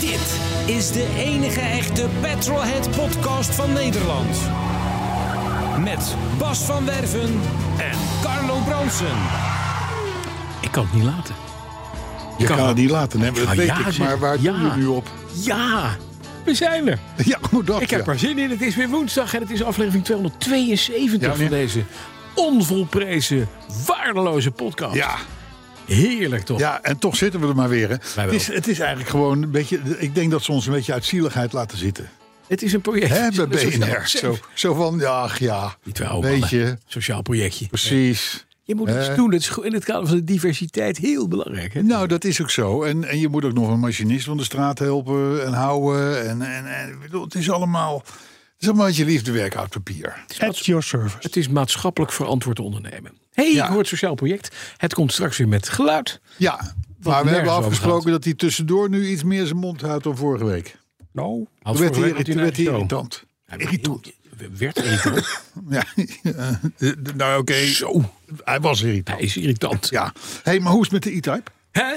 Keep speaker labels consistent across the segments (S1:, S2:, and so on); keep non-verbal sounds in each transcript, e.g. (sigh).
S1: Dit is de enige echte Petrolhead podcast van Nederland. Met Bas van Werven en Carlo Bronsen.
S2: Ik kan het niet laten.
S3: Je
S2: Kan
S3: kan, het niet laten, hè? maar
S2: Ah,
S3: dat weet
S2: ja,
S3: ik.
S2: zeg.
S3: Maar waar doe
S2: Ja.
S3: je nu op? (laughs)
S2: Ja, we zijn er.
S3: Ja, hoe dat?
S2: Ik heb
S3: ja.
S2: er zin in. Het is weer woensdag en het is aflevering 272
S3: Ja,
S2: van
S3: meneer.
S2: deze onvolprezen, waardeloze podcast.
S3: Ja,
S2: Heerlijk toch?
S3: ja, en toch zitten we er maar weer. Hè.
S2: Wij
S3: Het,
S2: wel.
S3: is, het is eigenlijk gewoon een beetje. Ik denk dat ze ons een beetje uit zieligheid laten zitten.
S2: Het is een project.
S3: Hè, bij
S2: Een sociaal-
S3: BNR. Zo, zo van, ja, ach, ja.
S2: Niet wel, oude
S3: Weet
S2: mannen.
S3: je,
S2: Sociaal projectje.
S3: precies.
S2: Je moet iets
S3: Eh.
S2: doen. Het is goed- in het kader van de diversiteit heel belangrijk. Hè?
S3: Nou, dat is ook zo. En, en je moet ook nog een machinist van de straat helpen en houden. En, en, en ik bedoel, het is allemaal. Het is allemaal uit je liefdewerk uit papier.
S4: At your service.
S2: Het is maatschappelijk verantwoord ondernemen. Hé, hey,
S3: Ja.
S2: je hoort sociaal project. Het komt straks weer met geluid.
S3: Ja, maar we hebben
S2: nergens over
S3: afgesproken
S2: gaat.
S3: dat hij tussendoor nu iets meer zijn mond houdt dan vorige week.
S4: Nou,
S2: Had
S3: Toen
S2: vorige
S3: werd hij
S2: week had
S3: irrit- werd hij
S2: een show.
S3: irritant.
S2: Hij werd irritant. Werd irritant.
S3: (laughs) Ja, (laughs) eh, d- nou oké.
S2: Zo,
S3: Hij was irritant.
S2: hij is irritant.
S3: Ja. hey, maar hoe is het met de E-Type?
S2: Hè?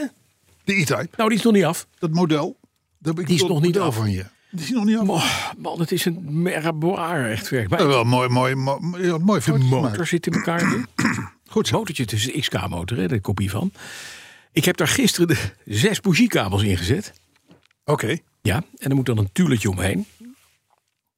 S3: De E-Type,
S2: Nou, die is nog niet af.
S3: dat model. Dat,
S2: Die is nog niet af.
S3: van je. Die is nog niet af.
S2: Oh, man, het is een merboire echt werk. Maar
S3: Eh, wel mooi, mooi, mooi, ja, mooi
S2: de
S3: foto's
S2: motor
S3: gemaakt.
S2: zit in elkaar. nu.
S3: (clears throat) Goed zo.
S2: Motortje tussen XK-motor, hè, de kopie van. Ik heb daar gisteren de zes bougiekabels in gezet.
S3: Oké.
S2: Ja, en er moet dan een tulletje omheen.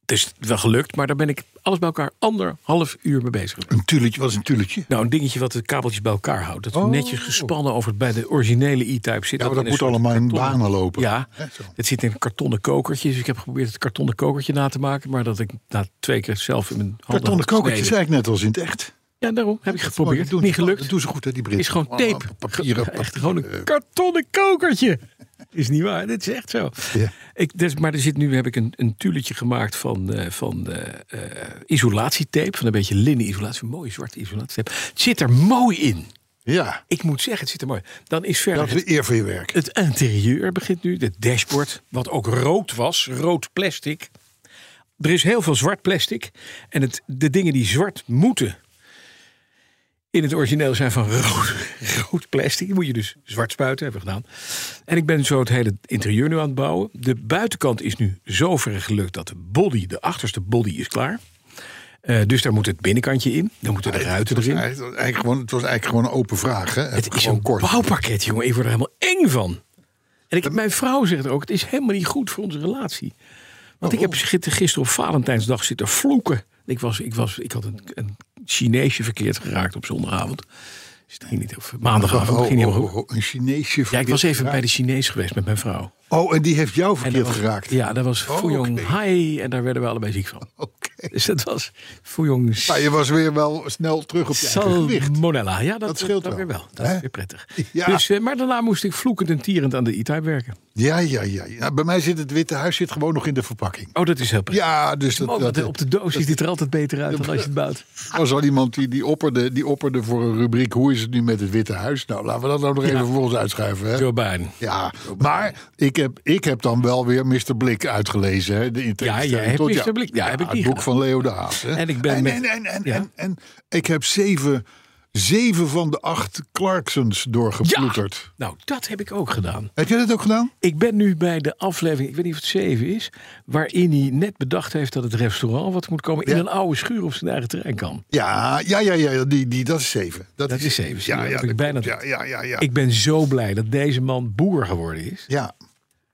S2: Het is wel gelukt, maar daar ben ik alles bij elkaar anderhalf uur mee bezig. geweest.
S3: Een tulletje was een tulletje.
S2: Nou, een dingetje wat de kabeltjes bij elkaar houdt. Dat netjes gespannen over het bij de originele e-type zit.
S3: Oh. Ja, maar
S2: in
S3: dat
S2: een
S3: moet
S2: soort
S3: allemaal in
S2: kartonnen-
S3: banen lopen.
S2: Ja,
S3: Hè, zo.
S2: het zit in een kartonnen kokertje. Dus ik heb geprobeerd het kartonnen kokertje na te maken. Maar dat ik na twee keer zelf in mijn handen had
S3: Kartonnen kokertje
S2: gesneden.
S3: zei ik net als in het echt.
S2: Ja, daarom heb ik
S3: Maar
S2: geprobeerd.
S3: dat doen
S2: Niet
S3: ze-
S2: gelukt.
S3: Dat doen ze goed, hè, die Britten.
S2: Is gewoon tape.
S3: Allemaal Papieren.
S2: Echt
S3: papieren. eh.
S2: gewoon een kartonnen kokertje. Is niet waar, dit is echt zo.
S3: Ja.
S2: Ik, dus, maar er zit nu heb ik een, een tuletje gemaakt van, eh, van eh, eh, isolatietape. Van een beetje linnen isolatie. Een mooie zwarte isolatietape. Het zit er mooi in.
S3: Ja,
S2: Ik moet zeggen, het zit er mooi in. Dan is verder
S3: dat is een eer voor je werk.
S2: het interieur begint nu, het dashboard, wat ook rood was, rood plastic. Er is heel veel zwart plastic. En het, de dingen die zwart moeten in het origineel zijn van rood, (laughs) rood plastic. Die moet je dus zwart spuiten, hebben we gedaan. En ik ben zo het hele interieur nu aan het bouwen. De buitenkant is nu zover gelukt dat de body, de achterste body, is klaar. Eh, dus daar moet het binnenkantje in. Dan moeten de ruiten
S3: Het was
S2: erin.
S3: eigenlijk- het was eigenlijk gewoon- Het was eigenlijk gewoon een open vraag. Hè.
S2: Het is
S3: gewoon
S2: een bouwpakket, jongen. Ik word er helemaal eng van. En ik, mijn vrouw zegt ook, het is helemaal niet goed voor onze relatie. Want ik heb
S3: Oh.
S2: gister- gisteren op Valentijnsdag zitten vloeken. Ik, was, ik, was, ik had een, een Chineesje verkeerd geraakt op zondagavond. Dus het ging niet, of maandagavond
S3: Oh,
S2: ging niet helemaal
S3: oh,
S2: goed.
S3: oh, een Chineesje.
S2: Ja, ik
S3: verkeerd
S2: was even bij
S3: geraakt.
S2: de Chinees geweest met mijn vrouw.
S3: Oh, en die heeft jou
S2: dat
S3: verkeerd
S2: was-
S3: geraakt.
S2: Ja, dat was
S3: Oh,
S2: Fuyong
S3: oké.
S2: Hai en daar werden we allebei ziek van.
S3: Oké.
S2: Dus dat was Fuyong
S3: Maar je was weer wel snel terug op je eigen gewicht.
S2: Salmonella. Ja, dat,
S3: Dat scheelt
S2: dat
S3: wel.
S2: weer wel. Dat is
S3: Hè?
S2: weer prettig.
S3: Ja.
S2: Dus, eh, maar daarna moest ik vloekend en tierend aan de E-Type werken.
S3: Ja, ja, ja. ja. Bij mij zit het Witte Huis zit gewoon nog in de verpakking.
S2: Oh, dat is heel prettig.
S3: Ja, dus dat,
S2: Man,
S3: dat,
S2: op de doos ziet het er altijd beter uit dan als je het bouwt.
S3: was al iemand die, die, opperde, die opperde voor een rubriek... hoe is het nu met het Witte Huis? Nou, laten we dat nou nog even voor ons uitschuiven. Hè?
S2: Joe Biden.
S3: Ja, maar ik heb, ik heb dan wel weer Mr. Blik uitgelezen. Hè? De
S2: Ja, jij hebt Mr. Blik. Ja, heb ik
S3: het
S2: niet
S3: boek
S2: gedaan.
S3: van Leo de Haas. Hè?
S2: En ik ben
S3: en,
S2: met-
S3: en, en, en,
S2: ja.
S3: en, en ik heb zeven, zeven van de acht Clarksons doorgeploeterd.
S2: Nou, dat heb ik ook gedaan.
S3: Heb jij dat ook gedaan?
S2: Ik ben nu bij de aflevering, ik weet niet of het 7 is, waarin hij net bedacht heeft dat het restaurant wat moet komen in
S3: Ja.
S2: een oude schuur op zijn eigen terrein kan.
S3: Ja, ja, ja, ja die, die, dat is zeven.
S2: Dat is zeven, zie je,
S3: Ja,
S2: dat
S3: ja,
S2: heb ik
S3: dat
S2: bijna-
S3: klopt. ja, ja, ja, ja.
S2: Ik ben zo blij dat deze man boer geworden is.
S3: ja.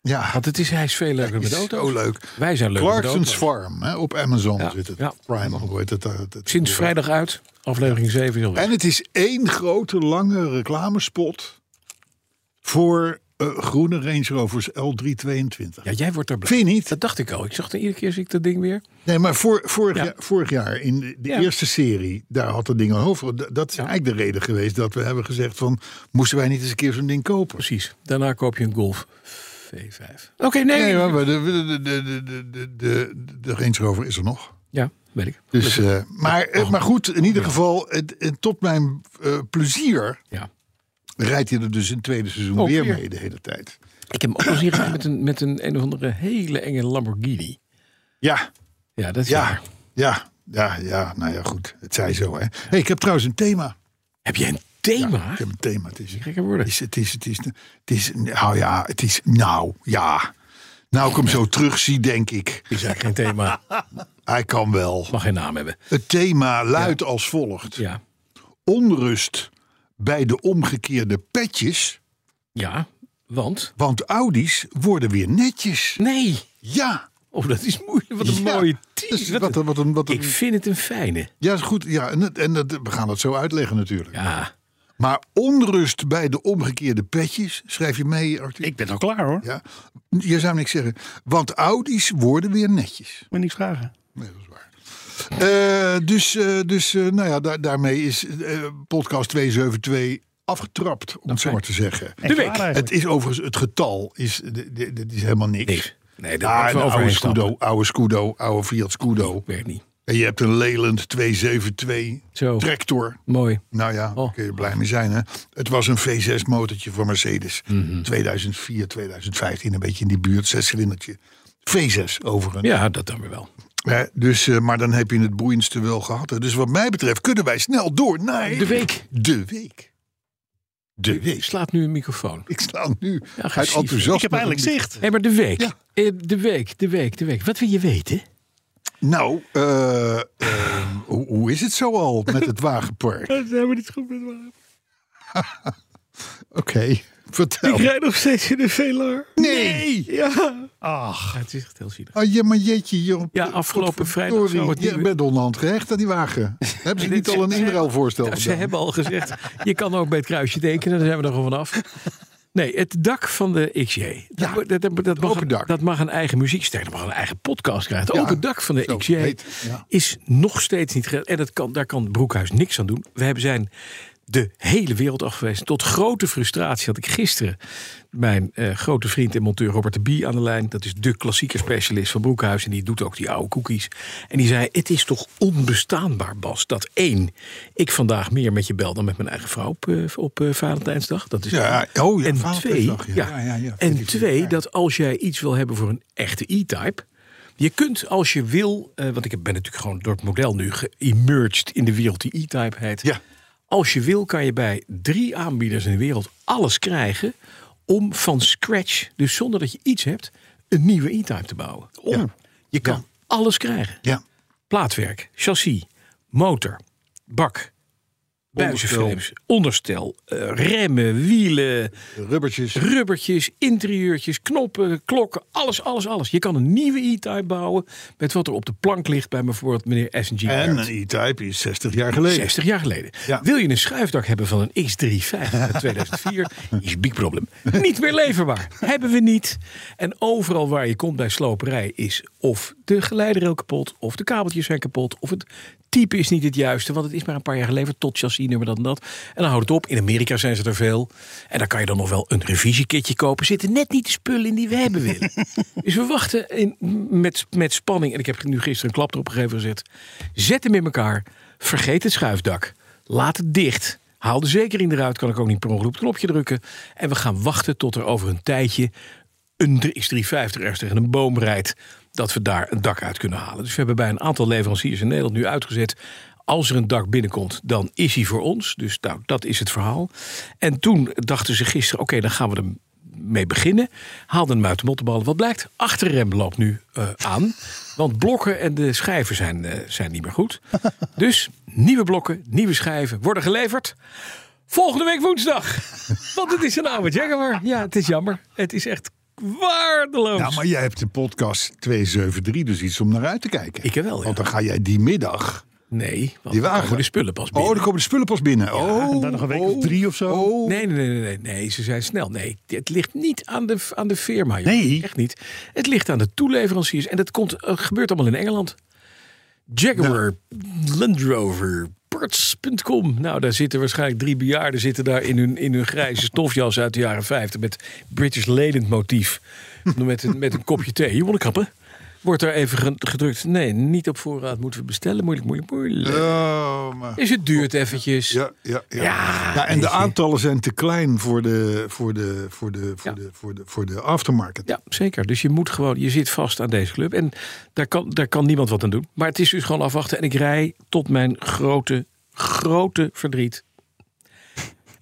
S3: ja.
S2: Want het is, hij is veel leuker met
S3: Is
S2: auto's.
S3: Zo leuk.
S2: Wij zijn leuk met
S3: Clarkson's
S2: auto's.
S3: Farm hè, op Amazon
S2: Ja,
S3: zit het.
S2: ja.
S3: Prime, hoe heet het, eh, het- het-
S2: Sinds vrijdag uit, aflevering 7 is alweer.
S3: En het is één grote lange reclamespot voor eh, eh, groene Range Rovers L322.
S2: Ja, jij wordt er blij.
S3: Vind je niet?
S2: Dat dacht ik al. Ik zag de iedere keer zie ik dat ding weer.
S3: Nee, maar voor, vorig,
S2: Ja.
S3: jaar, vorig jaar in de de
S2: Ja.
S3: eerste serie, daar had dat ding al over. Dat, dat is eigenlijk de reden geweest dat we hebben gezegd van... moesten wij niet eens een keer zo'n ding kopen?
S2: Precies. Daarna koop je een Golf V5. Oké, nee.
S3: Nee, maar de, de, de, de, de, de, de, de Range Rover is er nog.
S2: Ja, weet ik.
S3: Dus, eh, maar, eh, maar goed, in ieder geval, het, het tot mijn eh, plezier
S2: Ja.
S3: rijdt hij er dus in het tweede seizoen
S2: Ook
S3: weer
S2: weer.
S3: mee de hele tijd.
S2: Ik heb hem ook al zien gaan met een, met een een of andere hele enge Lamborghini.
S3: Ja,
S2: Ja, dat is
S3: ja,
S2: waar.
S3: ja, ja, ja, nou ja, goed. Het zij zo, hè. Hey, ik heb trouwens een thema.
S2: Heb jij een thema?
S3: Ik heb een thema. Het is,
S2: Gekke woorden.
S3: Het is, het is, het is, het is, nou ja, het is, nou ja. Nou ik hem zo terugzie, denk ik.
S2: Is eigenlijk geen thema.
S3: Hij kan wel.
S2: (laughs) Mag geen naam hebben.
S3: Het thema luidt als volgt.
S2: Ja.
S3: Onrust bij de omgekeerde petjes...
S2: Ja, want...
S3: Want Audi's worden weer netjes.
S2: Nee.
S3: Ja.
S2: Oh, dat is moeilijk. Wat een
S3: Ja.
S2: mooie
S3: Dat
S2: tease.
S3: is-
S2: Wat
S3: Wat,
S2: een-
S3: een- wat, een- wat een-
S2: Ik vind het een fijne.
S3: ja, is goed. Ja, en, dat- en dat, we gaan dat zo uitleggen natuurlijk.
S2: Ja.
S3: Maar onrust bij de omgekeerde petjes, schrijf je mee, Arthur?
S4: Ik ben al klaar hoor.
S3: Ja. Je zou niks zeggen. Want Audi's worden weer netjes.
S4: Moet niks vragen.
S3: Nee, dat is waar. Eh, dus, eh, dus eh, nou ja, daar- daarmee is eh, podcast 272 afgetrapt, om het zo maar te zeggen.
S4: De
S2: week.
S3: Het is overigens, het getal is, dit- dit dit is helemaal niks.
S2: Niks. Nee, daar
S3: Ja,
S2: moeten we
S3: een oude
S2: overheen
S3: Scudo,
S2: stappen.
S3: oude Scudo, oude Fiat Scudo.
S2: Oh, Werkt niet.
S3: En je hebt een Leland 272
S2: Zo.
S3: tractor.
S2: Mooi.
S3: Nou ja,
S2: Oh.
S3: daar kun je blij mee zijn. Hè? Het was een V6 motortje voor Mercedes.
S2: Mhm.
S3: 2004, 2015, een beetje in die buurt, zescilindertje. V6 overigens.
S2: Ja, dat dan weer wel.
S3: Hè, dus, eh, maar dan heb je het boeiendste wel gehad. hè. Dus wat mij betreft kunnen wij snel door naar...
S2: De week.
S3: De week. De week.
S2: Slaat nu een microfoon.
S3: Ik sta nu uit
S2: agressief.
S3: enthousiasme.
S4: Ik heb eigenlijk zicht.
S2: Nee, maar de week.
S3: Ja.
S2: Eh, De week, de week, de week. Wat wil je weten?
S3: Nou, eh, ehm, hoe, hoe is het zo al met het
S4: (laughs)
S3: wagenpark? Oké,
S4: Dat zijn we niet goed met waren.
S3: (laughs) vertel.
S4: Ik rijd nog steeds in de Velar.
S3: Nee!
S4: Ja. Ach.
S2: het is echt heel zielig.
S3: Ah, ja, maar jeetje, Job.
S2: Ja, afgelopen vrijdag
S3: Sorry,
S2: zou het
S3: je
S2: nieuwe-
S3: bent onderhand gehecht aan die
S2: (laughs)
S3: wagen. Hebben ze
S2: Dit
S3: niet al een
S2: zijn-
S3: inruilvoorstel
S2: Nou, ze
S3: gedaan?
S2: hebben al gezegd, je kan ook bij het kruisje tekenen, daar zijn we er gewoon vanaf. Nee, het dak van de XJ. Dat,
S3: Ja,
S2: mo- dat, dat, dat mag,
S3: open
S2: een,
S3: dak.
S2: dat mag een eigen muziekster, dat mag een eigen podcast krijgen.
S3: Ja,
S2: ook het dak van de
S3: zo
S2: XJ
S3: heet, ja.
S2: is nog steeds niet gered. En dat kan, daar kan Broekhuis niks aan doen. We hebben zijn de hele wereld afgewezen. Tot grote frustratie had ik gisteren mijn eh, grote vriend en monteur Robert de Bie aan de lijn. Dat is de klassieke specialist van Broekhuis. En die doet ook die oude cookies. En die zei, het is toch onbestaanbaar Bas. Dat één, ik vandaag meer met je bel dan met mijn eigen vrouw op, eh, op eh, Valentijnsdag. Dat is
S3: Ja, oh, ja,
S2: en twee,
S3: Valentijnsdag, ja.
S2: ja.
S3: Ja, ja, ja,
S2: en
S3: 14
S2: twee
S3: jaar.
S2: dat als jij iets wil hebben voor een echte e-type. Je kunt als je wil, eh, want ik ben natuurlijk gewoon door het model nu geëmerged in de wereld die e-type heet.
S3: Ja.
S2: Als je wil kan je bij drie aanbieders in de wereld alles krijgen om van scratch, dus zonder dat je iets hebt, een nieuwe e-type te bouwen.
S3: Ja.
S2: Je kan alles krijgen.
S3: Ja,
S2: Plaatwerk, chassis, motor, bak, buizenframes, onderstel, eh, remmen, wielen,
S3: rubbertjes.
S2: rubbertjes, interieurtjes, knoppen, klokken, alles, alles, alles. Je kan een nieuwe E-Type bouwen met wat er op de plank ligt bij bijvoorbeeld meneer S&G.
S3: En
S2: Barrett.
S3: een E-Type is 60 jaar geleden.
S2: 60 jaar geleden.
S3: Ja.
S2: Wil je een schuifdak hebben van een X350 uit 2004? Is een big problem. Niet meer leverbaar. Hebben we niet. En overal waar je komt bij sloperij is of de geleiderrail kapot, of de kabeltjes zijn kapot, of het type is niet het juiste, want het is maar een paar jaar geleverd tot chassis nummer dat en dat. En dan houdt het op. In Amerika zijn ze er veel. En dan kan je dan nog wel een revisiekitje kopen. Zitten net niet de spullen in die we hebben willen. dus we wachten in, met, met spanning. En ik heb nu gisteren een klap erop gegeven gezet. Zet hem in elkaar. Vergeet het schuifdak. Laat het dicht. Haal de zekering eruit. Kan ik ook niet per ongeluk op het knopje drukken. En we gaan wachten tot er over een tijdje een X350 ergens tegen een boom rijdt. Dat we daar een dak uit kunnen halen. Dus we hebben bij een aantal leveranciers in Nederland nu uitgezet. Als er een dak binnenkomt, dan is hij voor ons. Dus nou, dat is het verhaal. En toen dachten ze gisteren, oké, dan gaan we hem mee beginnen. Haalden hem uit de mottenballen. Wat blijkt? Achterrem loopt nu eh, aan. Want blokken en de schijven zijn, eh, zijn niet meer goed. Dus nieuwe blokken, nieuwe schijven worden geleverd. Volgende week woensdag. Want het is een oude Jaguar. Ja, het is jammer. Het is echt waardeloos.
S3: Nou, maar jij hebt de podcast 273, dus iets om naar uit te kijken.
S2: Ik heb wel, ja.
S3: Want dan ga jij die middag
S2: Nee, want
S3: Die
S2: dan
S3: wagen.
S2: komen de spullen pas binnen.
S3: Oh, er komen de spullen pas binnen. oh,
S4: dan nog een week
S3: oh,
S4: of drie of zo.
S3: Oh.
S2: Nee, nee, nee, nee, nee, ze zijn snel. Nee, het ligt niet aan de, aan de firma. joh.
S4: Nee.
S2: Echt niet. Het ligt aan de toeleveranciers. En dat komt, eh, gebeurt allemaal in Engeland. Jaguar,
S3: Nou.
S2: Land Rover, parts.com. Nou, daar zitten waarschijnlijk drie bejaarden zitten daar in hun, in hun grijze stofjas uit de jaren 50 met British Leyland motief. Met een, met een kopje thee. Je wil een kappen. Wordt daar even ge- gedrukt. Nee, niet op voorraad moeten we bestellen. Moeilijk, moeilijk, moeilijk.
S3: Oh, maar-
S2: Is het duurt eventjes.
S3: Ja, ja, ja.
S2: Ja,
S3: Ja, en
S2: weet
S3: de
S2: je.
S3: aantallen zijn te klein voor de, voor de, voor de,
S2: Ja.
S3: voor de, voor de, voor de aftermarket.
S2: Ja, zeker. Dus je moet gewoon, je zit vast aan deze club. En daar kan, daar kan niemand wat aan doen. Maar het is dus gewoon afwachten. En ik rij tot mijn grote, grote verdriet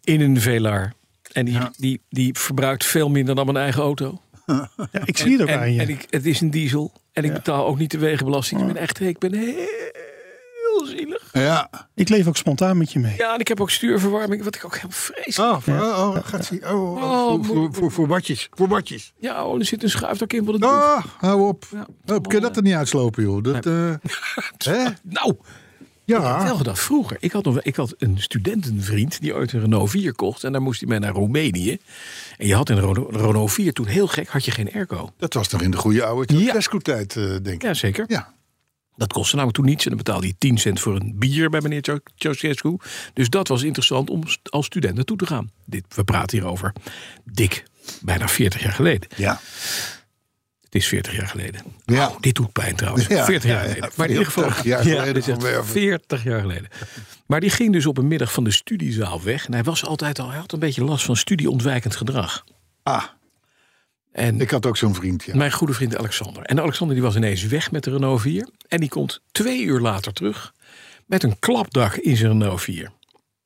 S2: in een Velar. En die, die, die verbruikt veel minder dan mijn eigen auto.
S4: Ja, ik zie het ook aan
S2: En,
S4: je.
S2: en ik, het is een diesel. En ik betaal ook niet de wegenbelasting. Ik ben echt, ik ben heel zielig.
S3: Ja.
S4: ik leef ook spontaan met je mee.
S2: Ja, en ik heb ook stuurverwarming, wat ik ook heel vreselijk.
S3: Oh, voor- oh, oh, gaat ie. Oh, oh,
S2: Oh,
S3: voor, voor, voor, voor watjes. Voor watjes.
S2: Ja, oh, er zit een schuifdak in. Wat
S4: Oh.
S2: het doet.
S3: Ah, hou op. Hop, kun je dat er niet uitslopen, joh? Dat, eh,
S2: (laughs)
S3: hè?
S2: Nou,
S3: Ja.
S2: Vertel dat vroeger. Ik had, nog, wel- ik had een studentenvriend die ooit een Renault 4 kocht. En daar moest hij mee naar Roemenië. En je had in Reno- Renault 4 toen heel gek, had je geen airco.
S3: Dat was nog in de goede oude
S2: Ja.
S3: Tesco-tijd, eh, denk ik.
S2: Jazeker.
S3: Ja.
S2: Dat kostte namelijk toen niets. En dan betaalde je 10 cent voor een bier bij meneer Ceau- Ceausescu. Dus dat was interessant om st- als student naartoe te gaan. Dit, we praten hierover dik, bijna 40 jaar geleden.
S3: Ja.
S2: Het is 40 jaar geleden.
S3: Ja.
S2: Oh, dit doet pijn trouwens.
S3: Ja,
S2: 40 jaar
S3: ja, ja.
S2: geleden. Maar in ieder geval...
S3: 40 jaar geleden
S2: dit is echt
S3: van Werven.
S2: 40 jaar geleden. Maar die ging dus op een middag van de studiezaal weg. En hij was altijd al... Hij had een beetje last van studieontwijkend gedrag.
S3: Ah,
S2: En
S3: ik had ook zo'n vriend, ja.
S2: mijn goede vriend Alexander. En Alexander die was ineens weg met de Renault 4. En die komt twee uur later terug... met een klapdak in zijn Renault 4.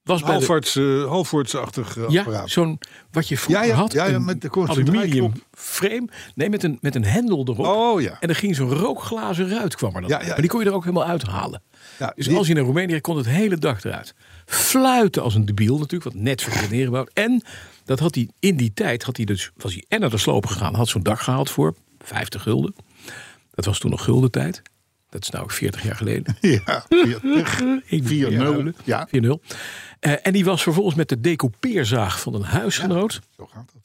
S2: Was bij de-
S3: Halfords, eh, Halfords-achtig eh,
S2: ja,
S3: apparaat.
S2: zo'n wat je vroeger
S3: Ja, ja,
S2: had,
S3: ja, ja,
S2: een
S3: met de korte
S2: aluminium
S3: draaiklop.
S2: frame. Nee, met een, met een hendel erop.
S3: Oh, ja.
S2: En er ging zo'n rookglazen ruit kwam er dan.
S3: Ja,
S2: uit.
S3: ja.
S2: Maar die kon je er ook helemaal uithalen.
S3: Ja,
S2: dus
S3: die-
S2: als je naar Roemenië ging, kon het hele dag eruit. Fluiten als een debiel natuurlijk, wat net verkeerd neergebouwd. En dat had hij in die tijd, had hij dus, was hij en naar de sloop gegaan, had zo'n dak gehaald voor 50 gulden. Dat was toen nog gulden tijd. Dat is nou ook 40 jaar
S3: (laughs)
S2: geleden.
S3: Ja, 40.
S2: Ik moet
S3: 4-0,
S2: weer huilen.
S3: ja.
S2: 4-0. Eh, en die was vervolgens met de decoupeerzaag van een huisgenoot.
S3: (laughs) Zo gaat dat.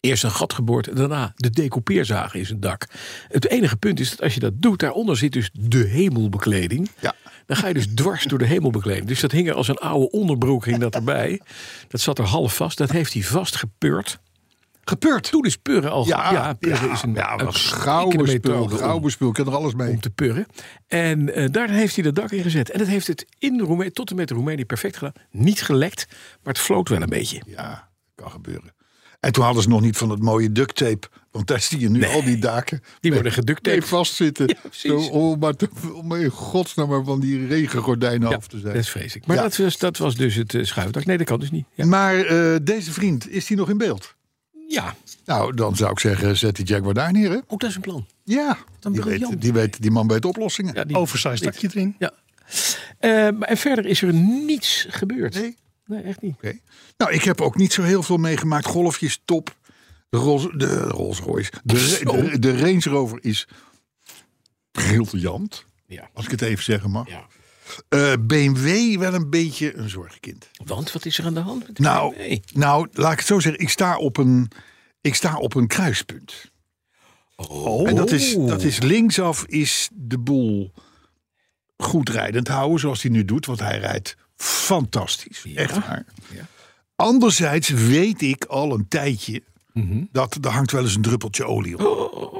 S2: Eerst een gat geboord, daarna de decoupeerzaag in zijn dak. Het enige punt is dat als je dat doet, daaronder zit dus de hemelbekleding.
S3: Ja.
S2: Dan ga je dus dwars door de hemelbekleding. Dus dat hing er als een oude onderbroek hing dat erbij. Dat zat er half vast. Dat heeft hij vastgepeurd. Gepeurd? Toen is purren al...
S3: Ja,
S2: purren is een,
S3: Ja,
S2: een
S3: wat gouden spul.
S2: methode om-
S3: Gouden spul, kan er alles mee.
S2: om te purren. En eh, daar heeft hij de dak in gezet. En dat heeft het in Roemenië, tot en met Roemenië perfect gedaan. Niet gelekt, maar het floot wel een beetje.
S3: Ja, kan gebeuren. En toen hadden ze nog niet van dat mooie duct tape. Want daar zie je nu al die daken.
S2: Die worden geducttaped.
S3: Nee, vastzitten.
S2: Ja, precies.
S3: Zo, om, maar te, om in godsnaam maar van die regengordijnen af te
S2: dat
S3: zijn.
S2: is vreselijk. Maar
S3: Ja.
S2: dat, was, dat was dus het eh, schuifdak. Nee, dat kan dus niet. Ja.
S3: Maar eh, deze vriend, is die nog in beeld?
S2: ja.
S3: Nou, dan zou ik zeggen, zet die Jaguar daar neer. Hè?
S2: Ook dat is een plan.
S3: Ja,
S2: Dan
S3: die,
S2: briljant.
S3: weet, die, weet, die man weet oplossingen.
S2: Ja, die-
S4: Oversized dakje erin.
S2: Ja. Eh, maar- en verder is er niets gebeurd.
S3: Nee?
S2: Nee, echt niet.
S3: Oké. Nou, ik heb ook niet zo heel veel meegemaakt. Golfjes, top. De Rolls, de Rolls Royce. De,
S2: Zo.
S3: de, de Range Rover is briljant.
S2: Ja.
S3: Als ik het even zeggen mag.
S2: ja.
S3: Eh, BMW wel een beetje een zorgkind.
S2: Want wat is er aan de hand? met de
S3: Nou,
S2: BMW?
S3: nou, laat ik het zo zeggen. Ik sta op een, ik sta op een kruispunt.
S2: Oh.
S3: En dat is, dat is linksaf is de boel goed rijdend houden zoals hij nu doet. Want hij rijdt fantastisch. Echt waar.
S2: Ja.
S3: Anderzijds weet ik al een tijdje
S2: Mhm.
S3: dat er hangt wel eens een druppeltje olie op.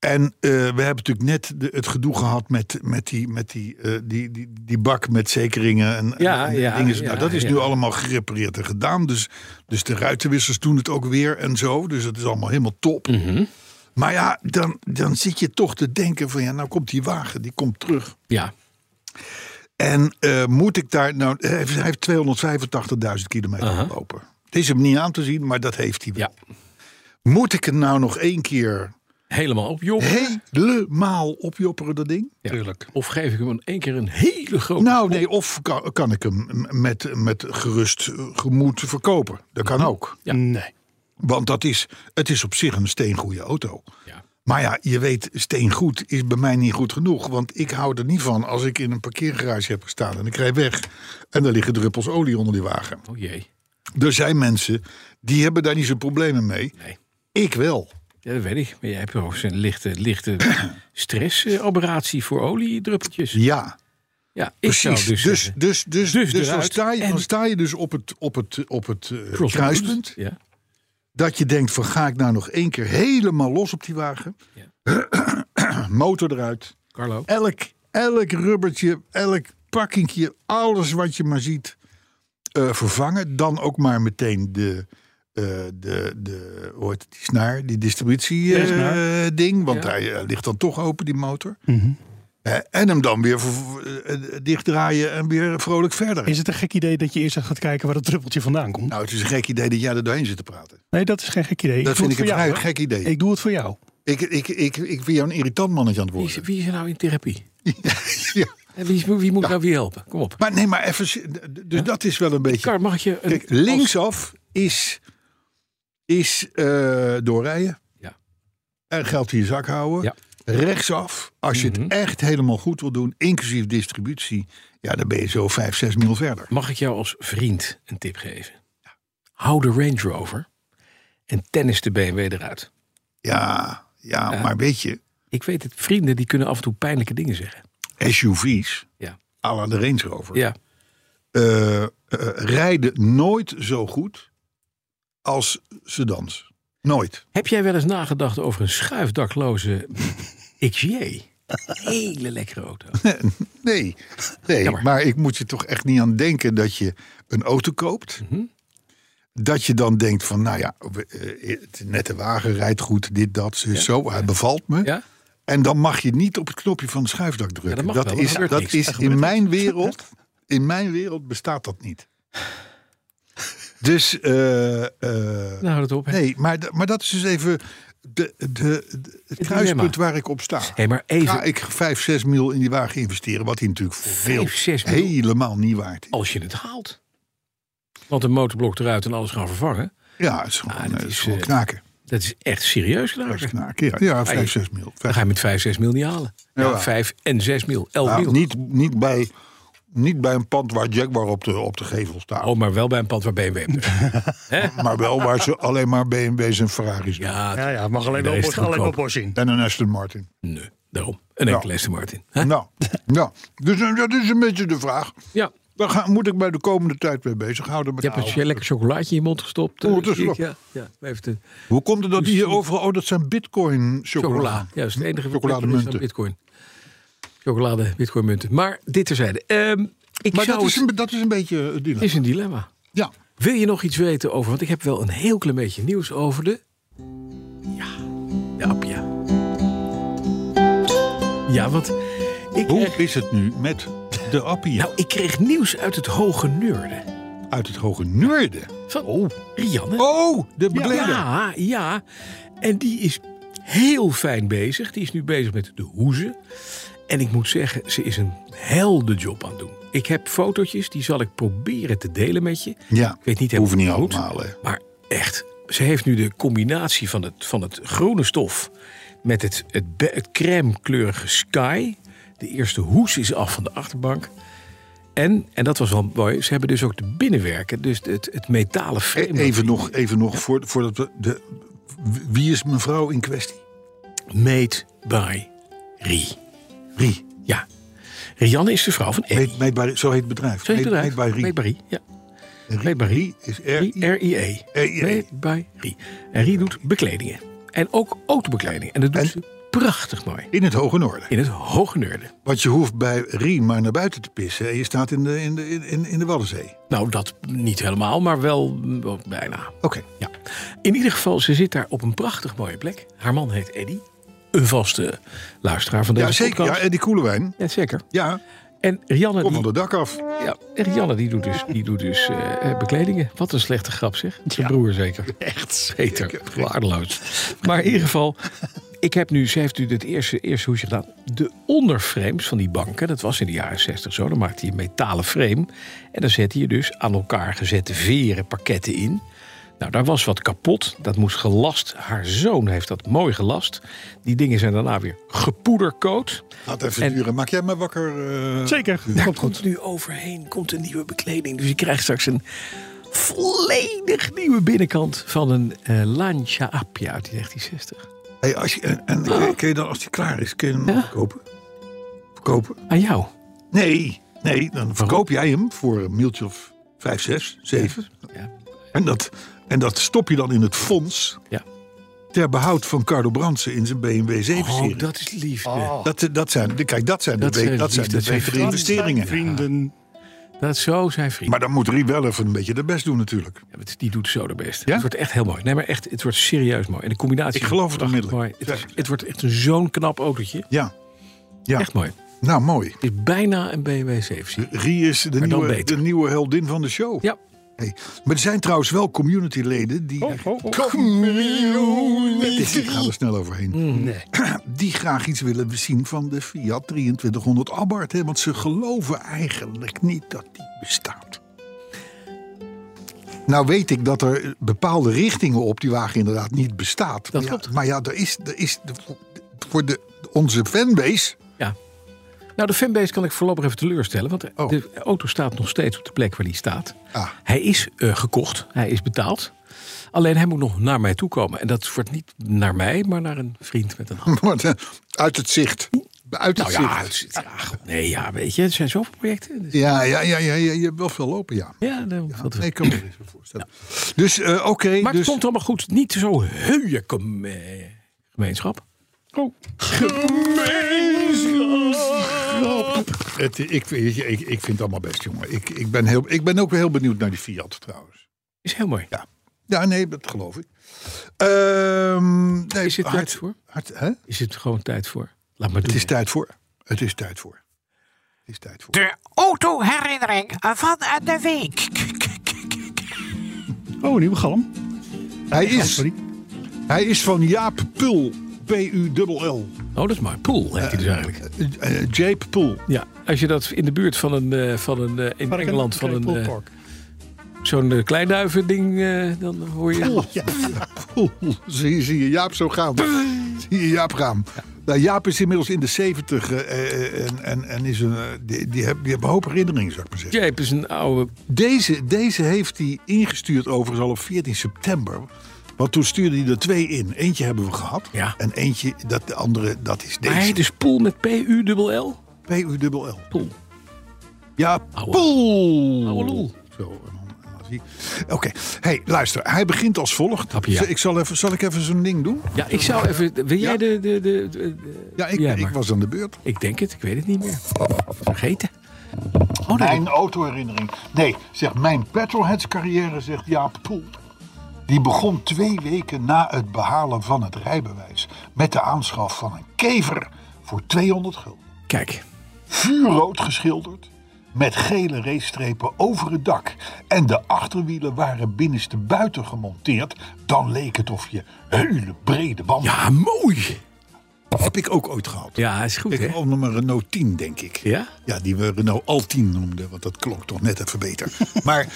S3: En eh, we hebben natuurlijk net de- het gedoe gehad met, met, die, met die, eh, die, die, die bak met zekeringen en,
S2: Ja,
S3: en- en
S2: ja,
S3: dingen.
S2: ja,
S3: nou, dat is
S2: ja.
S3: nu allemaal gerepareerd en gedaan. Dus, dus de ruitenwissers doen het ook weer en zo. Dus dat is allemaal helemaal top.
S2: Mhm.
S3: Maar ja, dan, dan zit je toch te denken van ja, nou komt die wagen, die komt terug.
S2: Ja.
S3: En eh, moet ik daar nou. Hij heeft- hij heeft 285.000 kilometer gelopen. Het is hem niet aan te zien, maar dat heeft hij wel.
S2: ja.
S3: Moet ik hem nou nog één keer
S2: Helemaal op, joh.
S3: helemaal opjopperen, dat ding?
S2: Ja. Of geef ik hem in één keer een hele grote...
S3: Nou, nee, of kan, kan ik hem met, met gerust eh, gemoed verkopen? Dat kan ook.
S2: Ja.
S4: Nee.
S3: Want dat is, het is op zich een steengoede auto.
S2: Ja.
S3: Maar ja, je weet, steengoed is bij mij niet goed genoeg. Want ik hou er niet van als ik in een parkeergarage heb gestaan en ik rij weg. En er liggen druppels olie onder die wagen.
S2: Oh jee.
S3: Er zijn mensen die hebben daar niet zo'n problemen mee.
S2: Nee.
S3: Ik wel.
S2: Ja, dat weet ik. Maar jij hebt ook een lichte, lichte (coughs) stressoperatie voor oliedruppeltjes.
S3: Ja,
S2: Ja, ik zou dus,
S3: precies. Dus, dus,
S2: zeggen,
S3: dus, dus,
S2: Dus
S3: dan,
S2: eruit.
S3: sta je,
S2: En-
S3: dan sta je dus op het, op het, op het eh,
S2: crossroads.
S3: kruispunt.
S2: Ja.
S3: Dat je denkt van ga ik nou nog één keer helemaal los op die wagen. (clears throat) Motor eruit.
S2: Carlo.
S3: Elk, elk rubbertje, elk pakkingje, alles wat je maar ziet eh, vervangen. Dan ook maar meteen de, eh, de, de hoe heet het, die snaar, die distributie
S4: Ja,
S3: eh,
S4: snaar.
S3: ding. Want
S2: Ja.
S3: hij eh, ligt dan toch open, die motor.
S4: Mhm.
S3: Eh, en hem dan weer ver- eh, eh, dichtdraaien en weer vrolijk verder.
S4: Is het een gek idee dat je eerst even gaat kijken waar dat druppeltje vandaan komt?
S3: Nou, het is een gek idee dat jij er doorheen zit te praten.
S4: Nee, dat is geen gek idee.
S3: Dat
S4: doe
S3: vind ik
S4: het
S3: een
S4: voor
S3: vrij
S4: jou,
S3: gek idee.
S4: hoor. Ik doe het voor jou.
S3: Ik, ik, ik, ik ben jou een irritant mannetje aan het
S2: Wie is,
S3: worden.
S2: wie is er nou in therapie?
S3: (laughs) Ja.
S2: En Wie, is- wie moet nou wie helpen? Kom op.
S3: Maar nee, maar even. z- d- Dus dat is wel een beetje.
S2: Kar, mag ik je... een-
S3: Kijk, linksaf is, is eh, doorrijden.
S2: Ja.
S3: En geld in je zak houden.
S2: Ja. Mhm.
S3: Rechtsaf, als je het echt helemaal goed wil doen, inclusief distributie, ja, dan ben je zo 5, 6 mil verder.
S2: Mag ik jou als vriend een tip geven? Hou de Range Rover en tennis de BMW eruit.
S3: Ja, ja, maar weet je,
S2: Ik weet het, vrienden die kunnen af en toe pijnlijke dingen zeggen.
S3: SUV's,
S2: Ja.
S3: à la de Range Rover,
S2: Ja,
S3: eh, eh, rijden nooit zo goed als sedans. Nooit.
S2: Heb jij wel eens nagedacht over een schuifdakloze XJ? Hele lekkere auto.
S3: Nee, nee
S2: Jammer.
S3: maar ik moet je toch echt niet aan denken dat je een auto koopt.
S2: Mhm.
S3: Dat je dan denkt van, nou ja, we, eh, het nette wagen rijdt goed, dit, dat, zo, zo, hij bevalt me.
S2: Ja?
S3: En dan mag je niet op het knopje van het schuifdak drukken.
S2: mag
S3: dat
S2: wel, maar
S3: is,
S2: er gebeurt niks.
S3: dat is in mijn
S2: (laughs)
S3: wereld, in mijn wereld bestaat dat niet. Dus, eh, eh,
S2: Nou, dat op. hè.
S3: nee, maar, d- maar dat is dus even de, de, de- het kruispunt waar ik op sta.
S2: Hé, maar even,
S3: Ga ik 5, 6 mil in die wagen investeren? Wat hij natuurlijk voor veel
S2: Vijf, zes mil?
S3: helemaal niet waard is.
S2: als je het haalt. Want een motorblok eruit en alles gaan vervangen.
S3: Ja, het is gewoon,
S2: Ah, dat
S3: eh, het is
S2: is,
S3: gewoon
S2: eh,
S3: knaken.
S2: Dat is echt serieus
S3: Dat is
S2: knaken.
S3: knaken. Ja, ja 5,
S2: je-
S3: 6 mil.
S2: Dan
S3: Vijf-
S2: ga je met 5, 6 mil niet halen.
S3: nou. Ja.
S2: Ja, 5 en 6 mil. 11
S3: Nou,
S2: mil.
S3: niet, niet, bij, niet bij een pand waar Jaguar op de, op de gevel staat.
S2: Oh, maar wel bij een pand waar BMW hem
S3: (laughs)
S2: doet.
S3: Maar wel waar ze alleen maar BMW's en Ferraris doen.
S2: Ja,
S4: Ja, ja, mag alleen
S2: wel
S4: wel
S2: Porsche- alleen wel
S4: Porsche in.
S3: En een Aston Martin.
S2: nee, daarom. Een
S3: Ja.
S2: enkele Aston Martin. Hè?
S3: Nou, ja. dus eh, dat is een beetje de vraag.
S2: Ja,
S3: Daar ga, moet ik mij de komende tijd mee bezighouden. Met
S2: je hebt
S3: de
S2: een
S3: auto.
S2: lekker chocolaatje in je mond gestopt. eh,
S3: Oh, het is
S2: zie ik,
S3: wel-
S2: ja, eh, ja. Even de
S3: Hoe komt het dat hier overal... Oh, dat zijn
S2: Chocola.
S3: bitcoin-chocola.
S2: Ja, dat is het enige wat is dan
S3: Chocolademunten.
S2: bitcoin. Chocolade, bitcoinmunten. Maar dit terzijde. Ehm ik
S3: Maar
S2: zou
S3: dat is,
S2: het,
S3: een, dat is een beetje eh, het dilemma.
S2: het is een dilemma.
S3: Ja.
S2: Wil je nog iets weten over... Want ik heb wel een heel klein beetje nieuws over de... Ja, de Appia. Ja, want ik
S3: Hoe
S2: kreeg,
S3: is het nu met de appie
S2: nou, ik kreeg nieuws uit het hoge noorden.
S3: uit het hoge noorden?
S2: Van oh. Rianne.
S3: Oh, de bekleder.
S2: Ja, ja. En die is heel fijn bezig. Die is nu bezig met de hoezen. En ik moet zeggen, ze is een heldenjob aan het doen. Ik heb fotootjes, die zal ik proberen te delen met je.
S3: Ja,
S2: Ik weet niet
S3: hoeven niet
S2: helemaal hoe het moet,
S3: allemaal, hè.
S2: Maar echt, ze heeft nu de combinatie van het, van het groene stof... met het, het, be- het crème-kleurige sky. De eerste hoes is af van de achterbank. En, en dat was wel mooi, ze hebben dus ook de binnenwerken. Dus het, het metalen frame.
S3: E-
S2: dat
S3: Even nog, even nog voor, voordat we... De, wie is mevrouw in kwestie?
S2: Made by Rie.
S3: Rie.
S2: Ja. Rianne is de vrouw van Eddie.
S3: Made, made by, zo heet het bedrijf.
S2: Zo heet het
S3: Made-
S2: bedrijf.
S3: Made by
S2: Made by Rie,
S3: Rie.
S2: ja.
S3: Rie-
S2: Made by Rie.
S3: Rie is R-I.
S2: R-I-E.
S3: R.I.E..
S2: E. Made by Rie. En Rie doet bekledingen. En ook autobekleding. En dat doet
S3: En-
S2: ze prachtig mooi.
S3: In het hoge noorden.
S2: In het hoge noorden.
S3: Want je hoeft bij Rie maar naar buiten te pissen. En je staat in de, in de, in, in de Waddenzee.
S2: Nou, dat niet helemaal, maar wel, mm, wel bijna.
S3: Oké.
S2: Ja. In ieder geval, ze zit daar op een prachtig mooie plek. Haar man heet Eddie. Een vaste luisteraar van deze
S3: Ja, zeker. Ja,
S2: podcast.
S3: en die koelewijn.
S2: Ja, zeker.
S3: Ja,
S2: En Rianne...
S3: kom
S2: die-
S3: van het dak af.
S2: Ja, en Janne die doet dus, die doet dus eh, eh, bekledingen. Wat een slechte grap zeg. Zijn broer zeker. Echt. Peter, waardeloos. Maar in ieder geval, ik heb nu, ze heeft nu het eerste, eerste hoesje gedaan. De onderframes van die banken, dat was in de jaren 60 zo. Dan maakte je een metalen frame. En dan zette je dus aan elkaar gezette veren pakketten in. Nou, daar was wat kapot. Dat moest gelast. Haar zoon heeft dat mooi gelast. Die dingen zijn daarna weer gepoedercoat.
S3: Laat even duren. Maak jij me wakker? eh?
S4: Zeker, komt goed.
S2: Nu overheen komt een nieuwe bekleding. Dus je krijgt straks een volledig nieuwe binnenkant van een eh Lancia Appia uit 1960.
S3: Hey, als je, en en kun je- kun je dan, als die klaar is, kun je hem
S2: Oh. Ja.
S3: verkopen? Verkopen?
S2: Aan jou.
S3: Nee, nee, dan verkoop jij hem voor een mailtje of 5, 6, 7.
S2: Ja.
S3: En, dat, en dat stop je dan in het fonds
S2: Ja.
S3: ter behoud van Carlo Brandsen in zijn BMW 7-serie.
S2: Oh, dat is liefde.
S3: dat, eh, dat zijn, de- kijk, dat zijn de,
S2: Dat
S3: be-
S2: zijn
S3: dat zijn
S2: liefde,
S3: de
S2: dat zijn
S3: betere
S2: vrienden.
S3: investeringen.
S4: Vrienden.
S2: Dat is zo zijn vriend.
S3: Maar dan moet Rie wel even een beetje de best doen natuurlijk.
S2: Ja, het- die doet zo de best.
S4: Ja?
S2: Het wordt echt heel mooi. Nee, maar echt, het wordt serieus mooi. En de combinatie...
S3: Ik geloof het
S2: prachtig
S3: onmiddellijk.
S2: mooi. Het, is- het wordt echt een zo'n knap autootje.
S3: Ja, ja.
S2: Echt mooi.
S3: nou mooi.
S2: Het is bijna een BMW 7
S3: Rie is de
S2: Maar dan
S3: nieuwe, de
S2: beter.
S3: nieuwe heldin van de show.
S2: Ja.
S3: Hey, Maar er zijn trouwens wel communityleden die...
S4: Oh, oh, oh.
S3: Ik ga er snel overheen. Mm. (clears throat) Die graag iets willen zien van de Fiat 2300 Abarth. Hè? Want ze geloven eigenlijk niet dat die bestaat. Nou weet ik dat er bepaalde richtingen op die wagen inderdaad niet bestaat. maar Ja,
S2: klopt.
S3: maar ja, er is, er is de- voor de, onze fanbase... (laughs)
S2: Ja. Nou, de fanbase kan ik voorlopig even teleurstellen. Want
S3: Oh.
S2: de auto staat nog steeds op de plek waar die staat.
S3: Ah.
S2: Hij is eh, gekocht. Hij is betaald. Alleen hij moet nog naar mij toe komen. En dat wordt niet naar mij, maar naar een vriend met een hand.
S3: wordt, eh, uit het zicht. Uit het
S2: Nou ja,
S3: zicht.
S2: het is- ja, goed. nee, ja, weet je, er zijn zoveel projecten. Dus-
S3: Ja, ja, ja, ja, ja, je hebt wel veel lopen, ja.
S2: Ja, nee, dat
S3: Nee, ik kan me er iets bij voorstellen. Dus eh, oké.
S2: Maar
S3: dus...
S2: het komt allemaal goed. Niet zo heuje com- eh, gemeenschap.
S4: Oh,
S3: Het, ik, weet je, ik, ik vind het allemaal best, jongen. Ik, ik, ben heel, ik ben ook heel benieuwd naar die Fiat, trouwens.
S2: Is heel mooi.
S3: Ja, ja nee, dat geloof ik. Ehm, nee,
S2: Is het
S3: hard-
S2: tijd voor?
S3: hard- hè?
S2: Is het gewoon tijd voor? Laat maar doen.
S3: Het is tijd voor. Het is tijd voor. Het is tijd voor.
S5: De autoherinnering van de week.
S4: oh een nieuwe galm.
S3: Hij is,
S4: Sorry.
S3: hij is van Jaap Pul. P-U-L-L.
S2: Oh, dat is mooi. Pool heet hij dus eigenlijk.
S3: Eh, eh, Jaap Pul.
S2: Ja, als je dat in de buurt van een, eh, van een eh, in Engeland van een eh,
S4: Park.
S2: zo'n eh, kleinduivending, eh, dan hoor je.
S4: Ja.
S3: Oeh, zie, je- zie je Jaap zo gaan. Zie je Jaap gaan. Nou, Jaap is inmiddels in de 70 eh, eh, en, en, en is een, eh, die, die, heb- die hebben een hoop herinneringen, zou ik maar zeggen.
S2: Jape is een oude.
S3: Deze, deze heeft hij ingestuurd overigens al op 14 september. Want toen stuurde hij er twee in. Eentje hebben we gehad.
S2: Ja.
S3: En eentje, dat, de andere, dat is
S2: Maar hij
S3: deze.
S2: dus Pool met P-U-L-L.
S3: P-U-L-L.
S2: Pool.
S3: Ja,
S2: Oude-
S3: poel.
S2: oude lul.
S3: Zo, en dan- en dan zie ik- Oké, hey, luister. Hij begint als volgt.
S2: Grapje, ja.
S3: Ik zal, even, zal ik even zo'n ding doen?
S2: Ja, ik zou even. Wil jij
S3: Ja.
S2: de. de, de, de- de-
S3: Ja, ik,
S2: Jij
S3: ik
S2: maar.
S3: was aan de beurt.
S2: Ik denk het, ik weet het niet meer. Vergeten. Oh, nee.
S3: Mijn autoherinnering. Nee, zeg mijn petrolheads carrière, zegt Jaap Poel. Die begon twee weken na het behalen van het rijbewijs met de aanschaf van een kever voor 200 gulden.
S2: Kijk.
S3: Vuurrood geschilderd, met gele racestrepen over het dak. En de achterwielen waren binnenste buiten gemonteerd. Dan leek het of je hele brede banden...
S2: Ja, mooi.
S3: heb ik ook ooit gehad.
S2: Ja, is goed,
S3: Ik
S2: hè?
S3: had nog maar Renault 10, denk ik.
S2: Ja?
S3: Ja, die we Renault Al 10 noemden, want dat klonk toch net even
S2: (laughs)
S3: beter. maar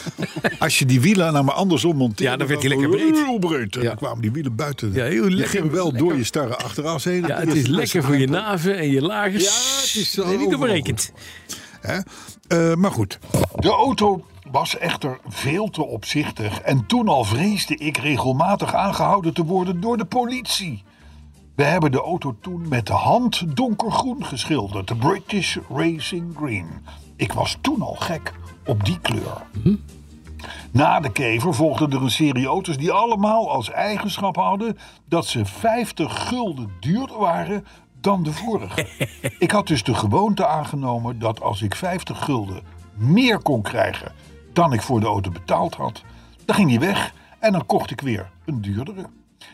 S3: als je die wielen nou maar andersom monteerde...
S2: Ja, dan werd die lekker breed.
S3: Heel breed. En
S2: Ja.
S3: Dan kwamen die wielen buiten.
S2: Ja, heel
S3: Je
S2: lekker.
S3: ging wel door je starre achteras heen.
S2: Ja, het is lekker voor je naven en je lagers.
S3: Ja, het is zo
S2: Nee, niet
S3: overal
S2: doorberekend.
S3: Hè? Eh, maar goed. De auto was echter veel te opzichtig. En toen al vreesde ik regelmatig aangehouden te worden door de politie. We hebben de auto toen met de hand donkergroen geschilderd. De British Racing Green. Ik was toen al gek op die kleur. Na de kever volgden er een serie auto's die allemaal als eigenschap hadden dat ze 50 gulden duurder waren dan de vorige. ik had dus de gewoonte aangenomen dat als ik 50 gulden meer kon krijgen dan ik voor de auto betaald had, dan ging die weg en dan kocht ik weer een duurdere.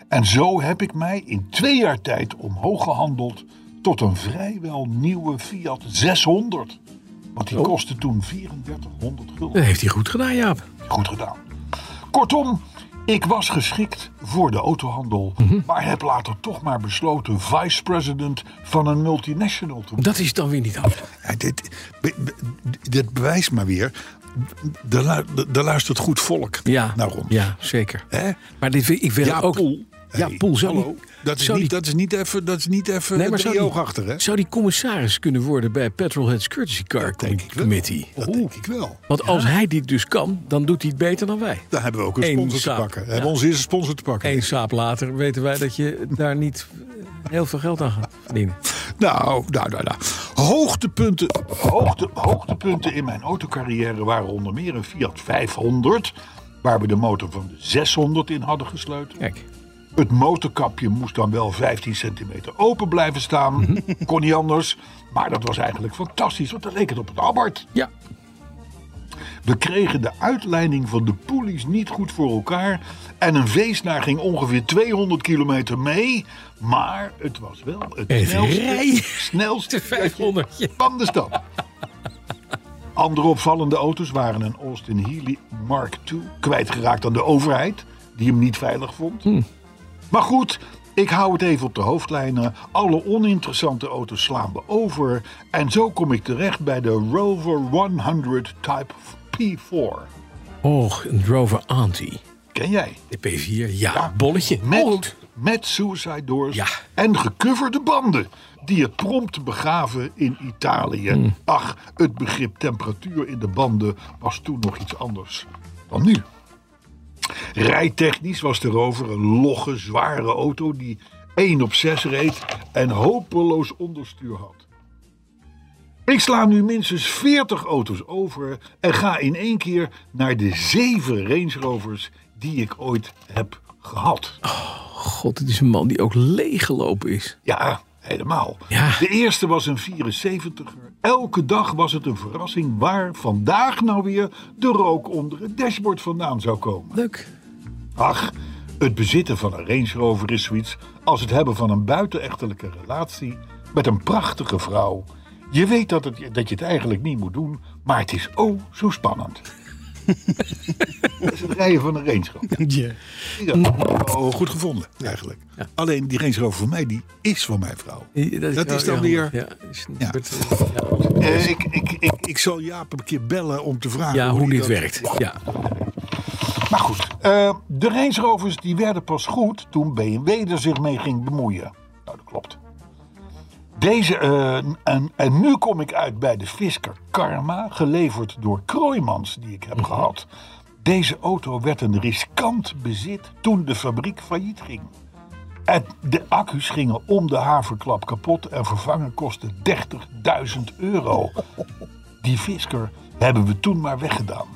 S3: En zo heb ik mij in twee jaar tijd omhoog gehandeld tot een vrijwel nieuwe Fiat 600. Want die kostte toen 3400 gulden
S2: Dat heeft hij goed gedaan, Jaap.
S3: goed gedaan. Kortom, ik was geschikt voor de autohandel, maar heb later toch maar besloten vice-president van een multinational te worden.
S2: Dat is dan weer niet af.
S3: dit, be- be- dit bewijst maar weer daar lu- daar luistert goed volk
S2: Ja,
S3: naar rond.
S2: ja zeker.
S3: Hè?
S2: Maar dit, ik wil
S3: Nou, Ja,
S2: ook...
S3: Poel.
S2: Ja,
S3: Hey,
S2: Poel, zou
S3: hallo.
S2: die-
S3: Dat is,
S2: zou
S3: niet,
S2: die-
S3: dat is niet even, dat is niet even
S2: Nee, maar
S3: drie
S2: zou die-
S3: oog achter, hè?
S2: Zou die commissaris kunnen worden bij Petrolheads Courtesy Car
S3: Dat denk ik wel.
S2: Committee?
S3: Dat
S2: Oeh.
S3: denk ik wel.
S2: Want als hij dit dus kan, dan doet hij het beter dan wij.
S3: Daar hebben we ook een
S2: Eén
S3: sponsor
S2: saap.
S3: te pakken. We
S2: Ja.
S3: hebben we onze eerste sponsor te pakken.
S2: Eén saap later weten wij dat je daar niet eh, heel veel geld aan gaat verdienen.
S3: Nou, nou, nou, nou. Hoogtepunten, hoogte, hoogtepunten in mijn autocarrière waren onder meer een Fiat 500... waar we de motor van de 600 in hadden gesleuteld.
S2: Kijk,
S3: Het motorkapje moest dan wel 15 centimeter open blijven
S2: (laughs)
S3: staan. Kon niet anders. Maar dat was eigenlijk fantastisch, want dan leek het op het Albert.
S2: ja, (laughs)
S3: We kregen de uitleiding van de poelies niet goed voor elkaar. En een veesnaar ging ongeveer 200 kilometer mee. Maar het was wel het
S2: Even rijden.
S3: snelste, snelste
S2: 500. ja.
S3: van de stad. Andere opvallende auto's waren een Austin Healey Mark II, kwijtgeraakt aan de overheid, die hem niet veilig vond. Maar goed, ik hou het even op de hoofdlijnen. Alle oninteressante auto's slaan we over. En zo kom ik terecht bij de Rover 100 Type P4.
S2: Och, een Rover Anti.
S3: Ken jij?
S2: De P4, ja, bolletje.
S3: Met,
S2: Oh,
S3: met suicide doors
S2: Ja.
S3: en gecoverde banden. Die het prompt begaven in Italië.
S2: Mm.
S3: Ach, het begrip temperatuur in de banden was toen nog iets anders dan nu. Rijtechnisch was de Rover een logge, zware auto die 1 op 6 reed en hopeloos onderstuur had. Ik sla nu minstens 40 auto's over en ga in één keer naar de zeven Range Rovers die ik ooit heb gehad.
S2: god, het is een man die ook leeggelopen is.
S3: Ja, helemaal.
S2: Ja.
S3: De eerste was een 74er. Elke dag was het een verrassing waar vandaag nou weer de rook onder het dashboard vandaan zou komen.
S2: Leuk.
S3: Ach, het bezitten van een Range Rover is zoiets als het hebben van een buitenechtelijke relatie met een prachtige vrouw. Je weet dat, het, dat je het eigenlijk niet moet doen, maar het is oh zo (laughs) spannend. dat is het rijden van een Range Rover.
S4: (laughs) Ja.
S3: Oh, goed gevonden, eigenlijk. Alleen die Range Rover van mij, die is van mijn vrouw.
S2: Dat,
S3: Dat
S2: wel
S3: is dan
S2: heel
S3: weer-
S2: handig. Ja, is een-
S3: Ja.
S2: wordt-
S3: Eh, ik, ik, ik, ik zal Jaap een keer bellen om te vragen
S2: ja, hoe
S3: die
S2: dit
S3: dat-
S2: werkt. Ja.
S3: Maar goed, eh, de Range Rovers die werden pas goed toen BMW er zich mee ging bemoeien. Nou, dat klopt. Deze, eh, en, en nu kom ik uit bij de Fisker Karma, geleverd door Kroijmans, die ik heb gehad. Deze auto werd een riskant bezit toen de fabriek failliet ging. En de accu's gingen om de haverklap kapot en vervangen kostte 30.000 euro. Die Fisker hebben we toen maar weggedaan.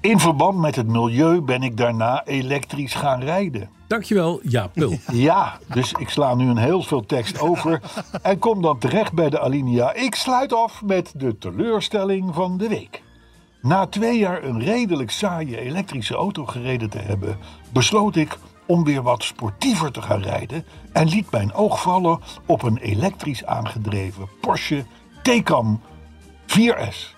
S3: In verband met het milieu ben ik daarna elektrisch gaan rijden.
S2: Dankjewel, ja, Pul. Oh,
S3: Ja, dus ik sla nu een heel veel tekst over en kom dan terecht bij de alinea. Ik sluit af met de teleurstelling van de week. Na twee jaar een redelijk saaie elektrische auto gereden te hebben, besloot ik om weer wat sportiever te gaan rijden en liet mijn oog vallen op een elektrisch aangedreven Porsche Taycan 4S.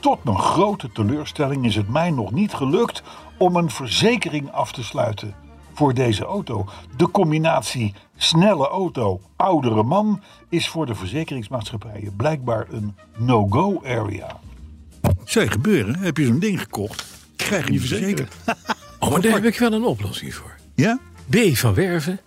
S3: Tot mijn grote teleurstelling is het mij nog niet gelukt om een verzekering af te sluiten voor deze auto. De combinatie snelle auto, oudere man is voor de verzekeringsmaatschappijen blijkbaar een no-go area. Zou je gebeuren? Heb je zo'n ding gekocht? Krijg je niet verzekerd?
S2: Oh, maar daar heb ik wel een oplossing voor.
S3: Ja?
S2: B. van Werven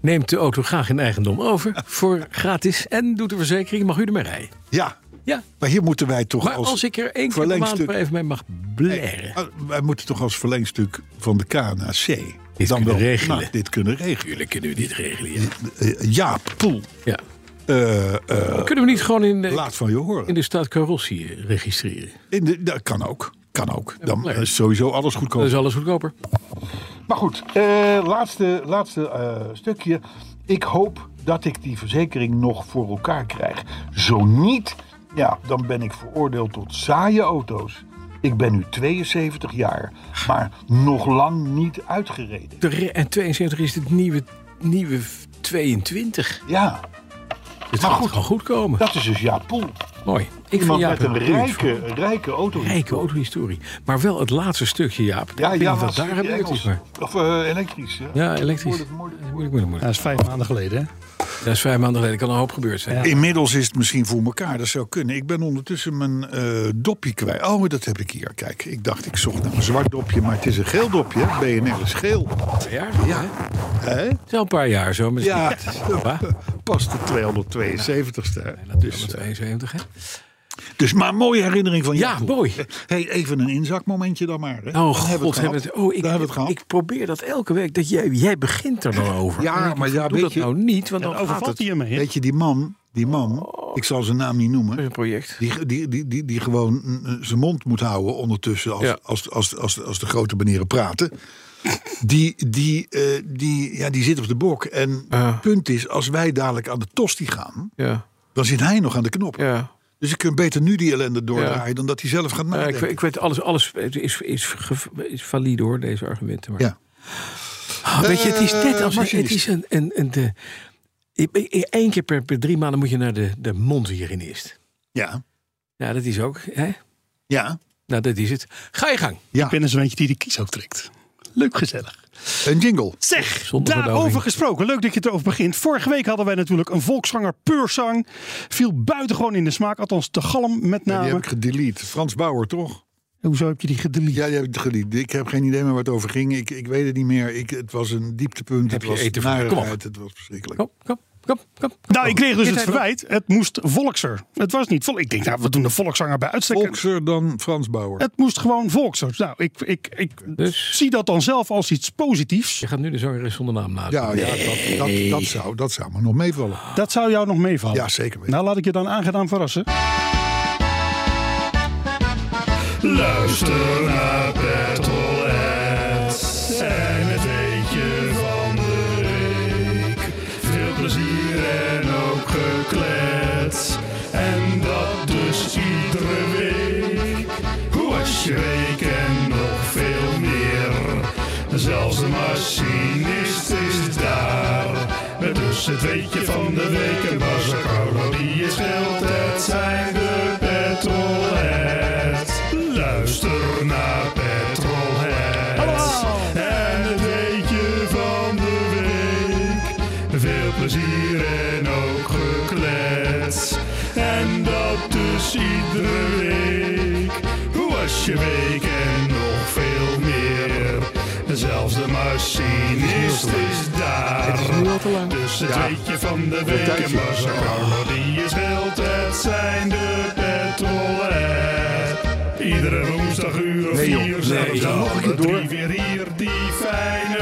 S2: neemt de auto graag in eigendom over voor gratis en doet de verzekering. Mag u ermee rijden?
S3: Ja.
S2: Ja,
S3: Maar hier moeten wij toch
S2: maar
S3: als,
S2: als, ik er één keer per maand
S3: verlengstuk... Ah,
S2: maar even mee mag blaren.
S3: wij moeten toch als verlengstuk van de KNAC
S2: Dit
S3: dan
S2: kunnen
S3: wel
S2: regelen.
S3: nou, dit kunnen regelen.
S2: Jullie kunnen we dit regelen. Ja.
S3: Eh, Jaap Poel,
S2: Ja.
S3: eh, eh,
S2: Kunnen we niet gewoon in de,
S3: Laat van je horen.
S2: in de staat Carrossie eh, registreren?
S3: In de- dat kan ook. Kan ook. Dan
S2: leuk.
S3: is sowieso alles
S2: Dan is
S3: goedkoop.
S2: alles goedkoper.
S3: Dus- Maar goed, eh, laatste, laatste eh, stukje. Ik hoop dat ik die verzekering nog voor elkaar krijg. Zo niet, ja, dan ben ik veroordeeld tot saaie auto's. Ik ben nu 72 jaar, maar nog lang niet uitgereden.
S2: De re- en 72 is het nieuwe, nieuwe 22.
S3: Ja,
S2: Het gaat
S3: goed.
S2: gewoon goed komen.
S3: dat is dus Jaap Poel.
S2: Mooi. Ik vind
S3: Iemand
S2: Jaap
S3: met een
S2: puur
S3: rijke, rijke auto.
S2: rijke autohistorie. Maar wel het laatste stukje, Jaap. Ik weet niet wat
S3: was
S2: daar
S3: die
S2: gebeurd is.
S3: Engels.
S2: Maar.
S3: Of eh, elektrisch. hè?
S2: Ja, elektrisch.
S3: Moeilijk, moeilijk, moeilijk.
S2: Moeilijk, moeilijk, moeilijk.
S4: Dat is vijf maanden geleden, hè?
S2: Dat is vijf maanden geleden. kan een hoop gebeurd zijn.
S4: Ja.
S3: Inmiddels is het misschien voor elkaar, dat zou kunnen. Ik ben ondertussen mijn eh, dopje kwijt. Oh, dat heb ik hier. Kijk, ik dacht ik zocht naar een zwart dopje, maar het is een geel dopje. BNL is geel.
S2: Twee jaar? Ja.
S3: Hè?
S2: Het is al een paar jaar zo. Misschien.
S3: Ja, (laughs) het is- eh,
S2: Wa?
S3: past de 272ste. hè.
S2: Dus,
S3: Dus, eh,
S2: 72, hè?
S3: dus maar een mooie herinnering van
S2: eh. Ja,
S3: jou.
S2: mooi.
S3: Hey, even een inzakmomentje dan maar. Hè.
S2: Oh,
S3: Dan hebben
S2: god,
S3: we
S2: hebben
S3: het
S2: we het,
S3: gehad.
S2: oh, ik,
S3: Daar hebben we het gehad.
S2: ik probeer dat elke week. Dat jij, jij begint er dan over.
S3: Ja,
S2: En ik
S3: maar ja,
S2: doe
S3: weet
S2: dat
S3: je-
S2: nou niet, want dan
S4: Dan
S2: gaat
S4: overvalt
S2: het.
S4: hij
S2: Dat
S4: hem. hè?
S3: Weet je, die man, die man,
S2: Oh.
S3: ik zal zijn naam niet
S2: is
S3: noemen.
S2: een project.
S3: Die, die, die, die, die gewoon mm, mm, zijn mond moet houden ondertussen als,
S2: Ja.
S3: als, als, als, als de grote manieren praten. Die, die, eh, die, ja, die zit op de bok. En
S2: Ja.
S3: het punt is, als wij dadelijk aan de tosti gaan,
S2: Ja,
S3: dan zit hij nog aan de knop.
S2: ja.
S3: Dus ik kun beter nu die ellende doordraaien dan dat hij zelf gaat
S2: Nou,
S3: nadenken.
S2: ik, ik weet alles, alles is, is, ge- is valide hoor, deze argumenten. Maar.
S3: Ja.
S2: Ah, weet je, het is net
S3: Eh,
S2: als het
S3: machinist.
S2: is een. een, een de, Eén keer per, per drie maanden moet je naar de, de mondhygiënist.
S3: ja,
S2: Ja, dat is ook. Hè?
S3: ja,
S2: Nou, dat is het. Ga je gang.
S3: ja.
S4: Ik ben eens een beetje die de kies ook trekt. Leuk gezellig.
S3: Een
S2: Nou,
S3: jingle.
S4: Zeg,
S2: Zonder
S4: daarover
S2: verdoving.
S4: gesproken. Leuk dat je het erover begint. Vorige week hadden wij natuurlijk een volkszanger Peursang. Viel buitengewoon in de smaak. Althans, de galm met
S3: Ja,
S4: name.
S3: die heb ik gedelete. Frans Bauer, toch?
S4: Hoezo heb je die gedelete?
S3: Ja, die heb ik gedelete. Ik heb geen idee meer waar het over ging. Ik, ik weet het niet meer. Ik, het was een dieptepunt.
S2: Heb
S3: het
S2: je
S3: was
S2: eten voor- kom op.
S3: narigheid. Het was verschrikkelijk.
S2: Kom, kom, kom, kom.
S4: Nou, ik kreeg dus
S2: Dit
S4: het
S2: heeft nog-
S4: verwijt. Het moest volkser. Het was niet volk. Ik denk, nou, we doen de volkszanger bij uitstek.
S3: Volkser dan Frans Bauer.
S4: Het moest gewoon volkser. Nou, ik, ik, ik
S2: Dus?
S4: zie dat dan zelf als iets positiefs.
S2: Je gaat nu de zangeres zonder naam nadenken.
S3: Ja, ja dat, dat, dat, zou, dat zou me nog meevallen.
S4: Dat zou jou nog meevallen.
S3: Ja, zeker weten.
S4: Nou, laat ik je dan aangedaan verrassen. Luister naar Petrolheads en het eetje van de week. Veel plezier en ook geklets. En dat dus iedere week. Hoe was je week en nog veel meer. Zelfs de machinist is daar. Met dus het weetje van de week en Bas en Carlo die je scheelt. Het zijn de Petrolheads. Luister naar Petrolheads. En het weetje van de week. Veel plezier en ook geklets. En dat dus iedere week. Hoe was je week en nog veel meer? Zelfs de machinist is daar. Dus het weetje van de week en
S3: tijdje.
S4: Bas en Carlo die je scheelt. Het zijn de Petrolheads. Iedere woensdag uur of
S3: Nee, joh.
S4: vier
S3: Nee,
S4: zijn
S3: joh.
S4: ze
S3: Nog een
S4: alle
S3: keer door.
S4: drie weer hier. Die fijne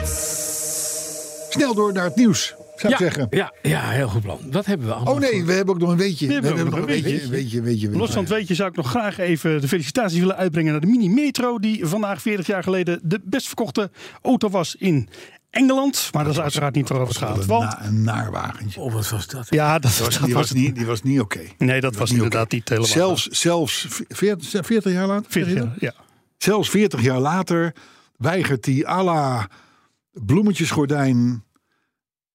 S4: Petrolheads.
S3: Snel door naar het nieuws, zou
S2: ja,
S3: ik zeggen.
S2: ja, ja, heel goed plan. Dat hebben we allemaal.
S3: Oh nee, we hebben ook nog een weetje. We
S4: hebben
S3: hebben
S4: ook
S3: nog een weetje. weetje, weetje, weetje.
S4: Los van het weetje zou ik nog graag even de felicitaties willen uitbrengen naar de Mini Metro, die vandaag 40 jaar geleden de best verkochte auto was in Engeland. Maar dat is uiteraard niet waarover het gaat.
S3: Een,
S4: Want
S3: na, een naarwagentje.
S2: Oh, wat was dat?
S4: ja, dat,
S3: Die was,
S4: dat
S3: die
S4: was
S3: was niet, die was niet oké.
S4: Nee, dat was
S3: niet
S4: inderdaad niet helemaal.
S3: Zelfs, zelfs v- 40, 40 jaar later?
S4: 40 jaar, ja.
S3: Zelfs 40 jaar later weigert hij à la bloemetjesgordijn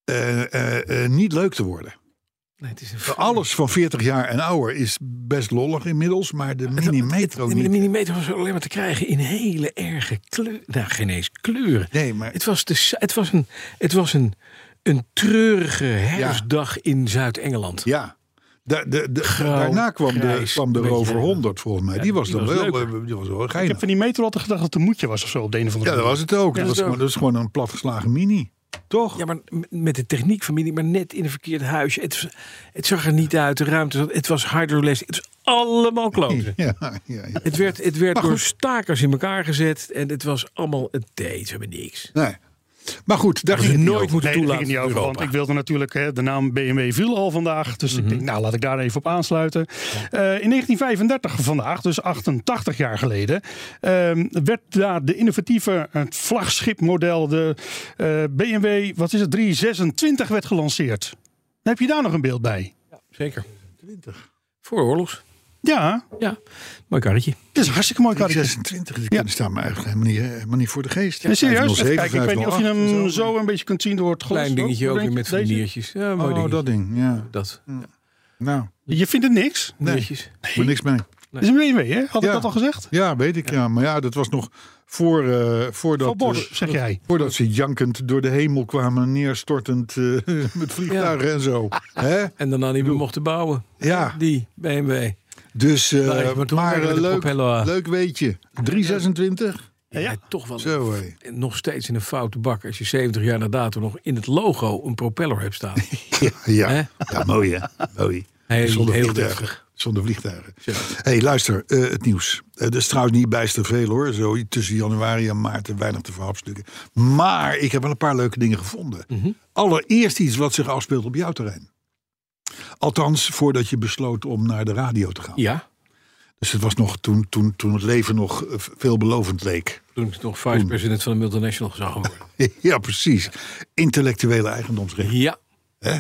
S3: eh, eh, eh, niet leuk te worden.
S2: Nee, het is een
S3: Alles van 40 jaar en ouder is best lollig inmiddels, maar de mini-metro
S2: De de
S3: niet.
S2: millimeter was alleen maar te krijgen in hele erge kleuren. Nou, geen eens kleuren.
S3: Nee, maar
S2: Het was, de, sa- het was, een, het was een, een treurige herfstdag in Zuid-Engeland.
S3: ja. Da- de, de,
S2: Grauw,
S3: daarna kwam de,
S2: grijs,
S3: kwam de
S2: een beetje
S3: Rover
S2: lelijk.
S3: 100 volgens mij. die was
S2: die
S3: dan
S2: was
S3: wel,
S2: leuker.
S3: eh, die was wel
S4: Ik
S3: geinig.
S4: heb van die metro altijd gedacht dat het een moedje was of zo op de een of andere
S3: Ja, dat was het ook. dat,
S2: dat
S3: was,
S2: ook.
S3: gewoon- dat is gewoon een platgeslagen mini. Toch?
S2: Ja, maar m- met de techniek van Mini, maar net in een verkeerd huisje. Het, was- het zag er niet uit, de ruimte zat, het was hydroless. Het was allemaal kloten.
S3: Ja, ja, ja.
S2: Het werd, het werd
S3: Maar goed.
S2: door stakers in elkaar gezet en het was allemaal een date, we hebben niks.
S3: Nee. Maar goed, daar
S2: Dat je
S3: ging het niet
S2: nooit
S3: over.
S2: moeten
S4: Nee, daar
S2: toelaten
S4: ging
S2: in
S4: ik niet over, want
S2: Europa. Mhm.
S4: ik wilde natuurlijk, hè, de naam BMW viel al vandaag. Dus ik denk, nou laat ik daar even op aansluiten. Eh, in 1935 vandaag, dus 88 jaar geleden, ehm, werd daar de innovatieve eh, vlaggenschipmodel, de eh, BMW, wat is het, 326 werd gelanceerd. Heb je daar nog een beeld bij?
S2: Zeker. 20. Voor oorlogs.
S4: Ja,
S2: Ja, mooi karretje.
S4: het is een hartstikke mooi
S3: Die
S4: karretje.
S3: 26, die kunnen staan me eigenlijk helemaal niet, eh, helemaal niet voor de geest.
S4: Nee, serieus? Even
S3: 507,
S4: kijken, ik weet niet of je
S3: 508
S4: hem
S3: en
S4: zo een beetje kunt zien door het glas.
S2: Klein dingetje
S4: Hoe
S2: ook weer
S4: denk
S2: met
S4: je? Deze?
S2: vaniertjes. Ja, mooi
S3: Oh,
S2: ding.
S3: dat ding, ja.
S2: Dat.
S3: Nou,
S4: Je vindt het niks?
S3: nee,
S2: Diertjes.
S3: moet niks mee.
S6: Dus daar ben je mee, hè? Had ik
S3: Ja.
S6: dat al gezegd?
S3: Ja, weet ik. Ja. maar ja, dat was nog voor, eh, voordat,
S6: Van Bos,
S3: eh,
S2: dus
S6: zeg jij.
S3: voordat ze jankend door de hemel kwamen, neerstortend eh, (laughs) met vliegtuigen en zo. Hè?
S2: En dan niet meer mochten bouwen.
S3: Ja,
S2: Die BMW.
S3: dus eh,
S2: Nou, ik moet toch
S3: maar
S2: weer
S3: eh,
S2: de
S3: leuk,
S2: propeller aan.
S3: leuk weet je. 326?
S2: Ja, toch wel
S3: Zo hé.
S2: nog steeds in een foute bak als je 70 jaar na dato nog in het logo een propeller hebt
S3: (laughs)
S2: staan.
S3: Ja,
S2: Hè?
S3: ja. ja mooi hè. Mooi.
S2: Heel-
S3: Zonder
S2: heel
S3: vliegtuigen. Zonder vliegtuigen. hey, luister, eh, het nieuws. Eh, dat is trouwens niet bijster veel hoor. Zo tussen januari en maart eh, weinig te verhapstukken. Maar ik heb wel een paar leuke dingen gevonden.
S2: Mhm.
S3: Allereerst iets wat zich afspeelt op jouw terrein. Althans, voordat je besloot om naar de radio te gaan.
S2: Ja,
S3: Dus het was nog toen, toen, toen het leven nog eh, veelbelovend leek. (laughs)
S2: toen ik nog vice-president van de multinational zou gaan worden.
S3: ja, precies. Intellectuele eigendomsrecht.
S2: Ja,
S3: Hè?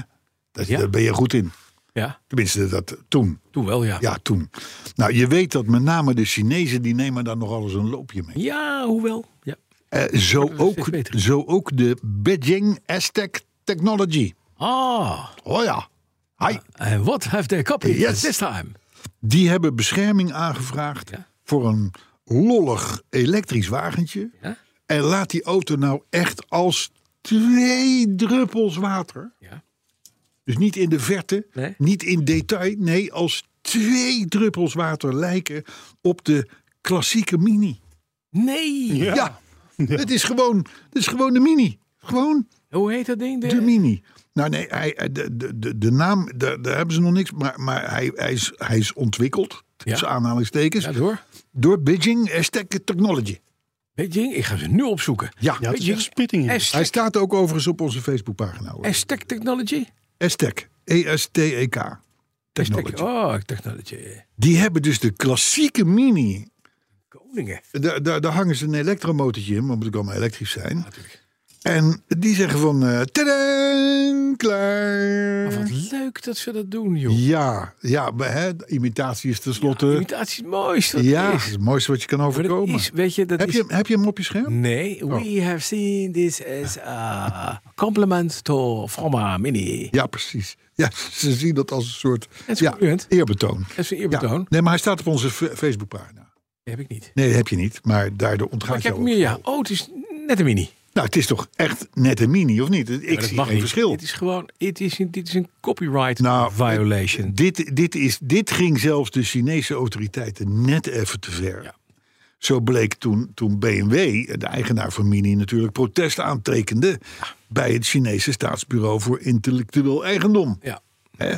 S3: Dat,
S2: Ja.
S3: Daar ben je goed in.
S2: ja,
S3: Tenminste, dat toen.
S2: toen wel ja.
S3: Ja, toen. Nou, je weet dat met name de Chinezen, die nemen daar nog alles een loopje mee.
S2: Ja, hoewel. Ja.
S3: Eh, zo, ook,
S2: steeds beter.
S3: zo ook de Beijing Aztec Technology.
S2: Ah,
S3: Oh ja. Hi.
S2: en what have they copied
S3: Yes.
S2: this time?
S3: Die hebben bescherming aangevraagd
S2: Ja.
S3: voor een lollig elektrisch wagentje.
S2: Ja.
S3: En laat die auto nou echt als twee druppels water.
S2: Ja.
S3: Dus niet in de verte,
S2: Nee.
S3: niet in detail. Nee, als twee druppels water lijken op de klassieke Mini.
S2: Nee,
S3: Ja. Het, is gewoon, het is gewoon de mini. Gewoon
S2: hoe heet dat ding?
S3: de mini. Nou nee, hij, hij- de, de, de, de naam, daar, daar hebben ze nog niks. Maar, maar hij, hij, is, hij is ontwikkeld, tussen aanhalingstekens,
S2: Ja, door.
S3: door Beijing Aztec Technology.
S2: Beijing, ik ga ze nu opzoeken.
S3: Ja,
S6: Ja, het is
S2: je-
S6: dus echt spitting. in.
S3: hij
S2: Aztec,
S3: staat ook overigens op onze Facebookpagina. hoor. E
S2: Aztec Technology?
S3: Aztec, E-S-T-E-K.
S2: Aztec,
S3: Technology.
S2: oh, Technology.
S3: Die hebben dus de klassieke mini.
S2: Koningen.
S3: Daar, daar, daar hangen ze een elektromotortje in, want het moet allemaal elektrisch zijn. En die zeggen van, eh tadaan, klaar.
S2: Wat leuk dat ze dat doen, joh.
S3: Ja, ja maar, hè, imitatie is tenslotte.
S2: Imitatie is moois.
S3: Ja,
S2: wat
S3: het
S2: is.
S3: is het mooiste wat je kan
S2: Maar dat
S3: overkomen.
S2: is, weet je, dat
S3: heb,
S2: is...
S3: je, Oh. heb je hem op je scherm?
S2: Nee, we have seen this as a compliment to Froma Mini.
S3: Ja, precies. Ja, (laughs) ze zien dat als een soort
S2: is
S3: ja,
S2: concurrent.
S3: eerbetoon.
S2: Dat is een
S3: Ja.
S2: eerbetoon.
S3: Nee, maar hij staat op onze F- Facebookpagina.
S2: Die heb ik niet.
S3: Nee, dat heb je niet, maar daardoor
S2: Maar
S3: ontgaat
S2: ik
S3: je
S2: heb
S3: ook.
S2: meer, ja. Oh, het is net een Mini.
S3: Nou, het is toch echt net een mini, of niet? Ik
S2: Maar dat
S3: zie
S2: mag
S3: geen
S2: niet.
S3: verschil.
S2: Dit is gewoon... Dit is een, dit is een copyright
S3: Nou,
S2: violation.
S3: Dit, dit, is, dit ging zelfs de Chinese autoriteiten net even te ver.
S2: Ja.
S3: Zo bleek toen, toen BMW, de eigenaar van Mini, natuurlijk protest aantekende bij het Chinese Staatsbureau voor Intellectueel Eigendom.
S2: ja.
S3: Hè?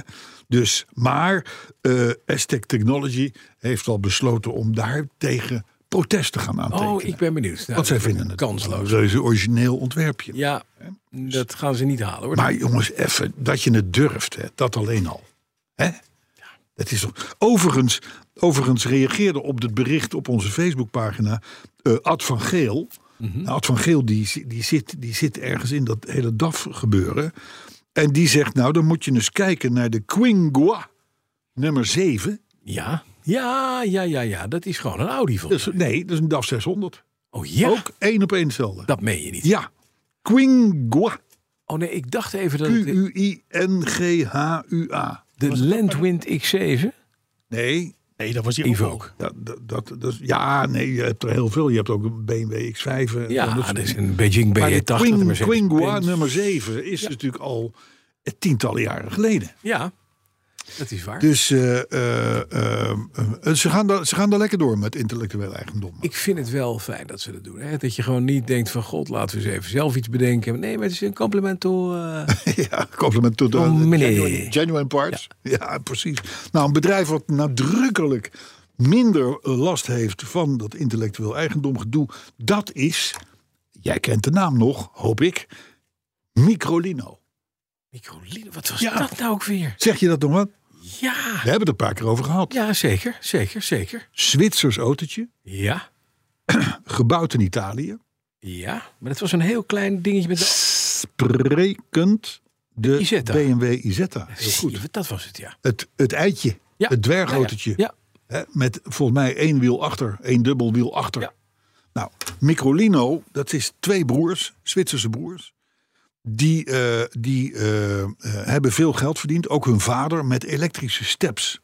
S3: Dus, maar eh Aztec Technology heeft al besloten om daar tegen protest te gaan aantekenen.
S2: Oh, ik ben benieuwd. Nou,
S3: Want zij
S2: dat
S3: vinden het
S2: kansloos.
S3: een reuze origineel ontwerpje.
S2: Ja, dat gaan ze niet halen, hoor.
S3: Maar jongens, even dat je het durft, hè, dat alleen al. Hè? Dat is toch... overigens, overigens reageerde op het bericht op onze Facebookpagina eh Ad van Geel. Nou, Ad van Geel die, zi- die, zit, die zit ergens in dat hele DAF gebeuren. En die zegt, nou dan moet je eens kijken naar de Quingua nummer 7.
S2: Ja. Ja, ja, ja, ja. Dat is gewoon een Audi
S3: Dat
S2: volgens
S3: is, nee, dat is een DAF 600.
S2: mij. Oh ja?
S3: Dus Ook één op één hetzelfde.
S2: Dat meen je niet.
S3: Ja, Quingua.
S2: Oh nee, ik dacht even dat het
S3: Q-U-I-N-G-H-U-A.
S2: de Landwind X7...
S3: Nee,
S6: Nee, dat was die
S2: Ivo.
S6: ook.
S3: Dat, dat, dat, dat is- ja, nee, je hebt er heel veel. Je hebt ook een BMW X5. eh,
S2: Ja,
S3: en
S2: dat
S3: soort
S2: is
S3: dingen.
S2: een Beijing
S3: Maar de
S2: B80.
S3: Quing-
S2: de Mercedes
S3: Quingua
S2: Benz.
S3: nummer 7 is natuurlijk al tientallen jaren geleden.
S2: Ja, dat is waar.
S3: Dus eh, eh, eh, eh, ze, gaan daar, ze gaan daar lekker door met intellectueel eigendom.
S2: ik vind het wel fijn dat ze dat doen. Hè? Dat je gewoon niet denkt van god, laten we eens even zelf iets bedenken. Nee, maar het is een compliment to, eh,
S3: (laughs) ja, compliment tot de
S2: Oh, meneer.
S3: genuine, genuine parts. Ja. precies. Nou, een bedrijf wat nadrukkelijk minder last heeft van dat intellectueel eigendom gedoe, dat is, jij kent de naam nog, hoop ik, Microlino.
S2: Microlino, wat was
S3: Ja.
S2: dat nou ook weer?
S3: Zeg je dat nog wat?
S2: Ja,
S3: We hebben het een paar keer over gehad.
S2: ja zeker, zeker, zeker.
S3: Zwitsers autootje,
S2: Ja,
S3: gebouwd in Italië,
S2: ja. Maar het was een heel klein dingetje met... de-
S3: sprekend de
S2: Isetta.
S3: BMW Isetta. Heel
S2: Zie
S3: goed.
S2: je, dat was het, ja.
S3: Het, het eitje,
S2: Ja.
S3: het dwergautootje.
S2: Ja,
S3: Hè, met volgens mij één wiel achter, één dubbel wiel achter.
S2: Ja.
S3: Nou, Microlino, dat is twee broers, Zwitserse broers. Die, eh, die eh, eh, hebben veel geld verdiend. Ook hun vader met elektrische steps.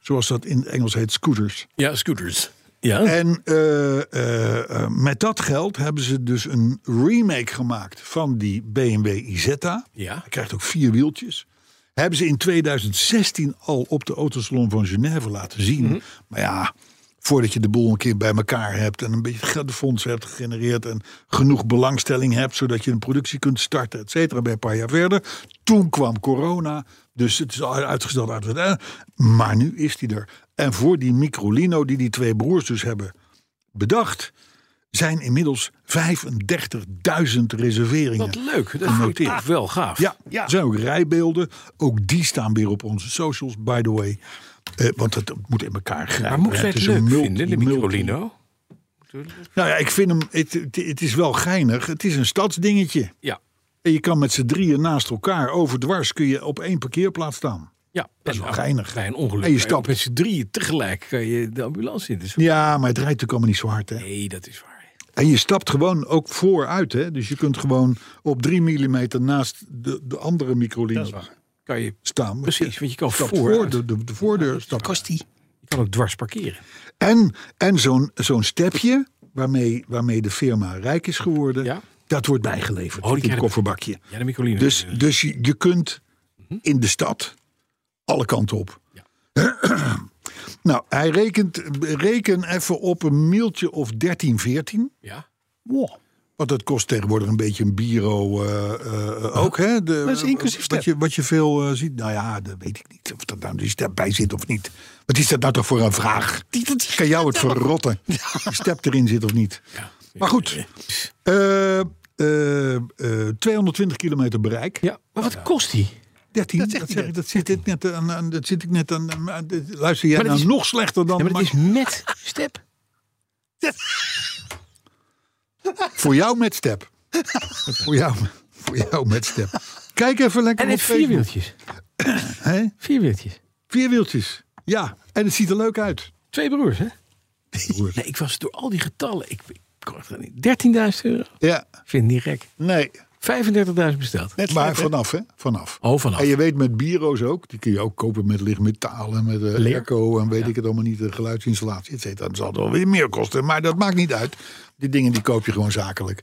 S3: Zoals dat in het Engels heet, scooters.
S2: Ja, scooters. Ja.
S3: En eh, eh, eh, met dat geld hebben ze dus een remake gemaakt van die BMW Isetta.
S2: Ja.
S3: Hij krijgt ook vier wieltjes. Hebben ze in 2016 al op de autosalon van Genève laten zien.
S2: Mhm.
S3: Maar ja, voordat je de boel een keer bij elkaar hebt... en een beetje geldfonds hebt gegenereerd... en genoeg belangstelling hebt... zodat je een productie kunt starten, et cetera, bij een paar jaar verder. Toen kwam corona, dus het is al uitgesteld. Uit, eh, maar nu is die er. En voor die Microlino, die die twee broers dus hebben bedacht... zijn inmiddels 35.000 reserveringen.
S2: Wat leuk. Dat vind ik toch wel gaaf.
S3: Ja, er zijn ook rijbeelden. Ook die staan weer op onze socials, by the way. Eh, want het moet in elkaar grijpen.
S2: Maar moet
S3: hè.
S2: zij het
S3: is een
S2: leuk
S3: multi-
S2: vinden, de
S3: multi-
S2: Microlino?
S3: Nou ja, ik vind hem... Het, het, het is wel geinig. Het is een stadsdingetje.
S2: Ja.
S3: En je kan met z'n drieën naast elkaar overdwars... kun je op één parkeerplaats staan.
S2: Ja,
S3: is wel
S2: en-
S3: geinig.
S2: Bij een ongeluk.
S3: En je stapt.
S2: Met z'n drieën tegelijk kan je de ambulance in. Dus
S3: Ja, maar het rijdt natuurlijk allemaal niet zo hard, hè.
S2: Nee, dat is waar.
S3: En je stapt gewoon ook vooruit, hè. Dus je kunt gewoon op drie millimeter naast de, de andere microlino
S2: Kan je,
S3: staan.
S2: precies, want je kan
S3: Stapt
S2: vooruit.
S3: voor de, de, de voordeur. stapt.
S2: je kan ook dwars parkeren.
S3: En, en zo'n zo'n stepje, waarmee, waarmee de firma rijk is geworden,
S2: Ja.
S3: dat wordt
S2: Oh,
S3: bijgeleverd
S2: die
S3: in een
S2: krijgen-
S3: kofferbakje.
S2: Ja, de Microlino.
S3: Dus, dus je, je kunt
S2: Mhm.
S3: in de stad alle kanten op. (clears throat) nou, hij rekent reken even op een mieltje of 13, 14.
S2: ja.
S3: Want dat kost tegenwoordig een beetje een bureau eh, eh, ook. Hè? De,
S6: is inclusief
S3: wat
S6: step.
S3: je, wat je veel eh, ziet. Nou ja, dat weet ik niet. Of dat nou die step bij zit of niet. Wat is dat nou toch voor een vraag? Kan jou
S2: (laughs)
S3: het verrotten. Die step erin zit of niet. Maar goed. Eh, eh, eh, 220 kilometer bereik.
S2: ja. Maar wat kost die?
S3: 13. Dat, zeg ik, dat, zit ik net aan, aan- dat zit ik net aan. aan- aan- luister jij
S2: Maar dat
S3: nou
S2: is-
S3: nog slechter dan.
S2: Ja, maar
S3: maar
S2: het is met step.
S3: Voor jou met step. voor, jou, voor jou met step. Kijk even lekker
S2: En het
S3: op Facebook.
S2: vierwieltjes.
S3: Hè?
S2: Vierwieltjes.
S3: Vierwieltjes. Ja, en het ziet er leuk uit.
S2: Twee broers, hè?
S3: broers.
S2: Nee, ik was door al die getallen. Ik, ik kon het er niet. 13.000 euro?
S3: Ja,
S2: Ik Vind het niet gek.
S3: nee.
S2: 35.000 besteld.
S3: maar vanaf, hè? Vanaf.
S2: Oh, vanaf.
S3: En je weet met bureaus ook, die kun je ook kopen met lichtmetaal en met eh
S2: Leer.
S3: airco en weet ik het allemaal niet, de geluidsinstallatie, et cetera. Dat zal wel weer meer kosten, maar dat maakt niet uit. Die dingen die koop je gewoon zakelijk.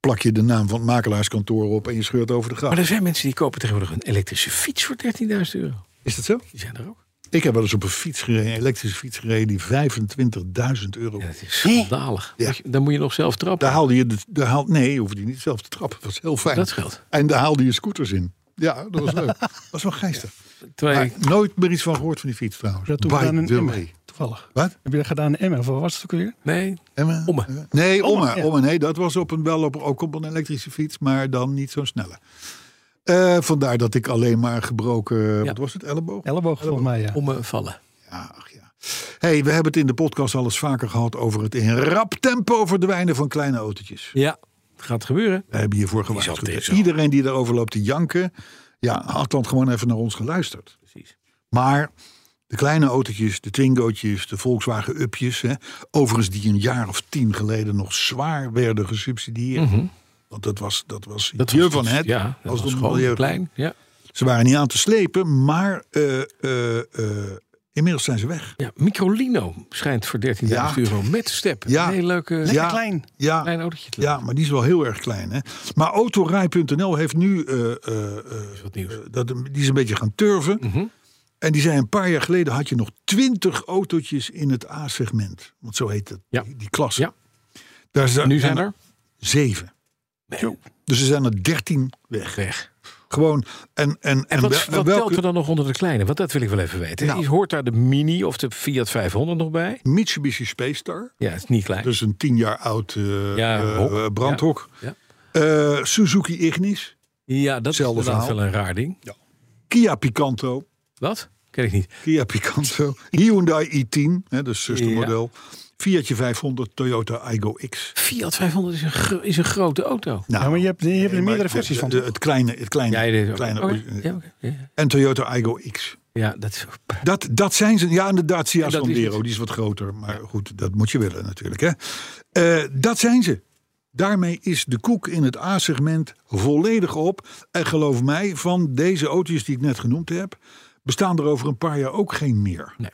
S3: Plak je de naam van het makelaarskantoor op en je scheurt over de
S2: Maar
S3: gracht.
S2: er zijn mensen die kopen tegenwoordig een elektrische fiets voor 13.000 euro.
S3: Is dat zo?
S2: Die zijn er ook.
S3: Ik heb wel eens op een fiets gereden, een elektrische fiets gereden, die 25.000 euro.
S2: Ja, dat is schandalig.
S3: Ja.
S2: Moet je- Dan moet je nog zelf trappen.
S3: Daar haalde je de, daar haal, nee, je hoefde je niet zelf te trappen. Dat was heel fijn.
S2: Dat scheelt.
S3: En daar haalde je scooters in. Ja, dat was
S2: (laughs)
S3: leuk. dat was wel geestig.
S2: Terwijl
S3: Maar
S2: ik-
S3: nooit meer iets van gehoord van die fiets trouwens.
S6: Dat doe
S3: By
S6: ik aan een
S3: the
S6: emmer.
S3: way.
S6: Toevallig.
S3: Wat?
S6: Heb je dat gedaan in emmer? Of wat was het ook weer?
S2: nee,
S3: Emma?
S2: Omme.
S3: Nee, Omme. Omme,
S6: ja.
S3: nee, dat was op een, wel op, ook op een elektrische fiets, maar dan niet zo'n snelle. Eh, vandaar dat ik alleen maar gebroken, wat was het, elleboog?
S6: Elleboog volgens mij, ja.
S2: om me vallen.
S3: Ja, ach ja. hey, we hebben het in de podcast al eens vaker gehad over het in rap tempo verdwijnen van kleine autootjes.
S2: Ja, het gaat gebeuren.
S3: We hebben hiervoor
S2: zat
S3: gewaarschuwd. Dus
S2: deze al.
S3: Iedereen die daarover loopt te janken, ja, had dan gewoon even naar ons geluisterd.
S2: Precies.
S3: Maar de kleine autootjes, de Twingootjes, de Volkswagen Upjes, hè, overigens die een jaar of tien geleden nog zwaar werden gesubsidieerd. Want dat was, dat was
S2: Mhm. Dat
S3: je
S2: was- dus,
S3: van het.
S2: Ja, dat was
S3: als het om
S2: gewoon
S3: milieu-
S2: klein. Ja.
S3: Ze waren niet aan te slepen, maar eh, eh, eh, inmiddels zijn ze weg.
S2: ja, Microlino schijnt voor 13.000
S3: Ja.
S2: euro met step.
S3: Ja.
S2: Een hele leuke
S3: ja,
S6: klein.
S3: Ja,
S2: klein autootje te
S3: Ja, maar die is wel heel erg klein. Hè? Maar autorij.nl heeft nu. eh, eh, eh,
S2: wat nieuws.
S3: eh, dat, die is een beetje gaan turven.
S2: Mhm.
S3: En die zei een paar jaar geleden had je nog twintig autootjes in het A-segment. Want zo heet het,
S2: Ja.
S3: die, die klasse.
S2: Ja.
S3: Daar zijn,
S2: Nu zijn er
S3: zeven.
S2: Nee,
S3: Dus er zijn er dertien weg.
S2: weg.
S3: Gewoon. En, en, en,
S2: En wat,
S3: wel-
S2: wat
S3: en welke-
S2: telt er dan nog onder de kleine? Want dat wil ik wel even weten.
S3: Nou.
S2: Is- Hoort daar de Mini of de Fiat 500 nog bij?
S3: Mitsubishi Space Star.
S2: Ja, het is niet klein.
S3: Dus een tien jaar oud eh,
S2: Ja,
S3: eh,
S2: hok.
S3: brandhok.
S2: Ja.
S3: Eh, Suzuki Ignis.
S2: ja, dat is
S3: hetzelfde
S2: inderdaad
S3: verhaal.
S2: wel een raar ding.
S3: Kia Picanto.
S2: Wat? Ken ik niet.
S3: Kia Picanto, Hyundai i10, hè, dus zustermodel. Fiatje 500, Toyota Igo X.
S2: Fiat 500 is een, gro- is een grote auto.
S3: Nou,
S6: Ja, maar je hebt, je hebt er
S3: maar
S6: meerdere
S3: de-
S6: versies
S3: de-
S6: van. oh,
S3: de- het kleine, het kleine,
S2: Ja, dit-
S3: kleine
S2: oké, ja, oké, ja.
S3: en Toyota Igo X.
S2: ja, dat is...
S3: Dat, dat zijn ze. Ja, en de Dacia
S2: En dat is
S3: Sandero,
S2: het.
S3: die is wat groter. Maar goed, dat moet je willen natuurlijk. Hè. Eh, dat zijn ze. Daarmee is de koek in het A-segment volledig op. En geloof mij, van deze auto's die ik net genoemd heb, bestaan er over een paar jaar ook geen meer.
S2: Nee.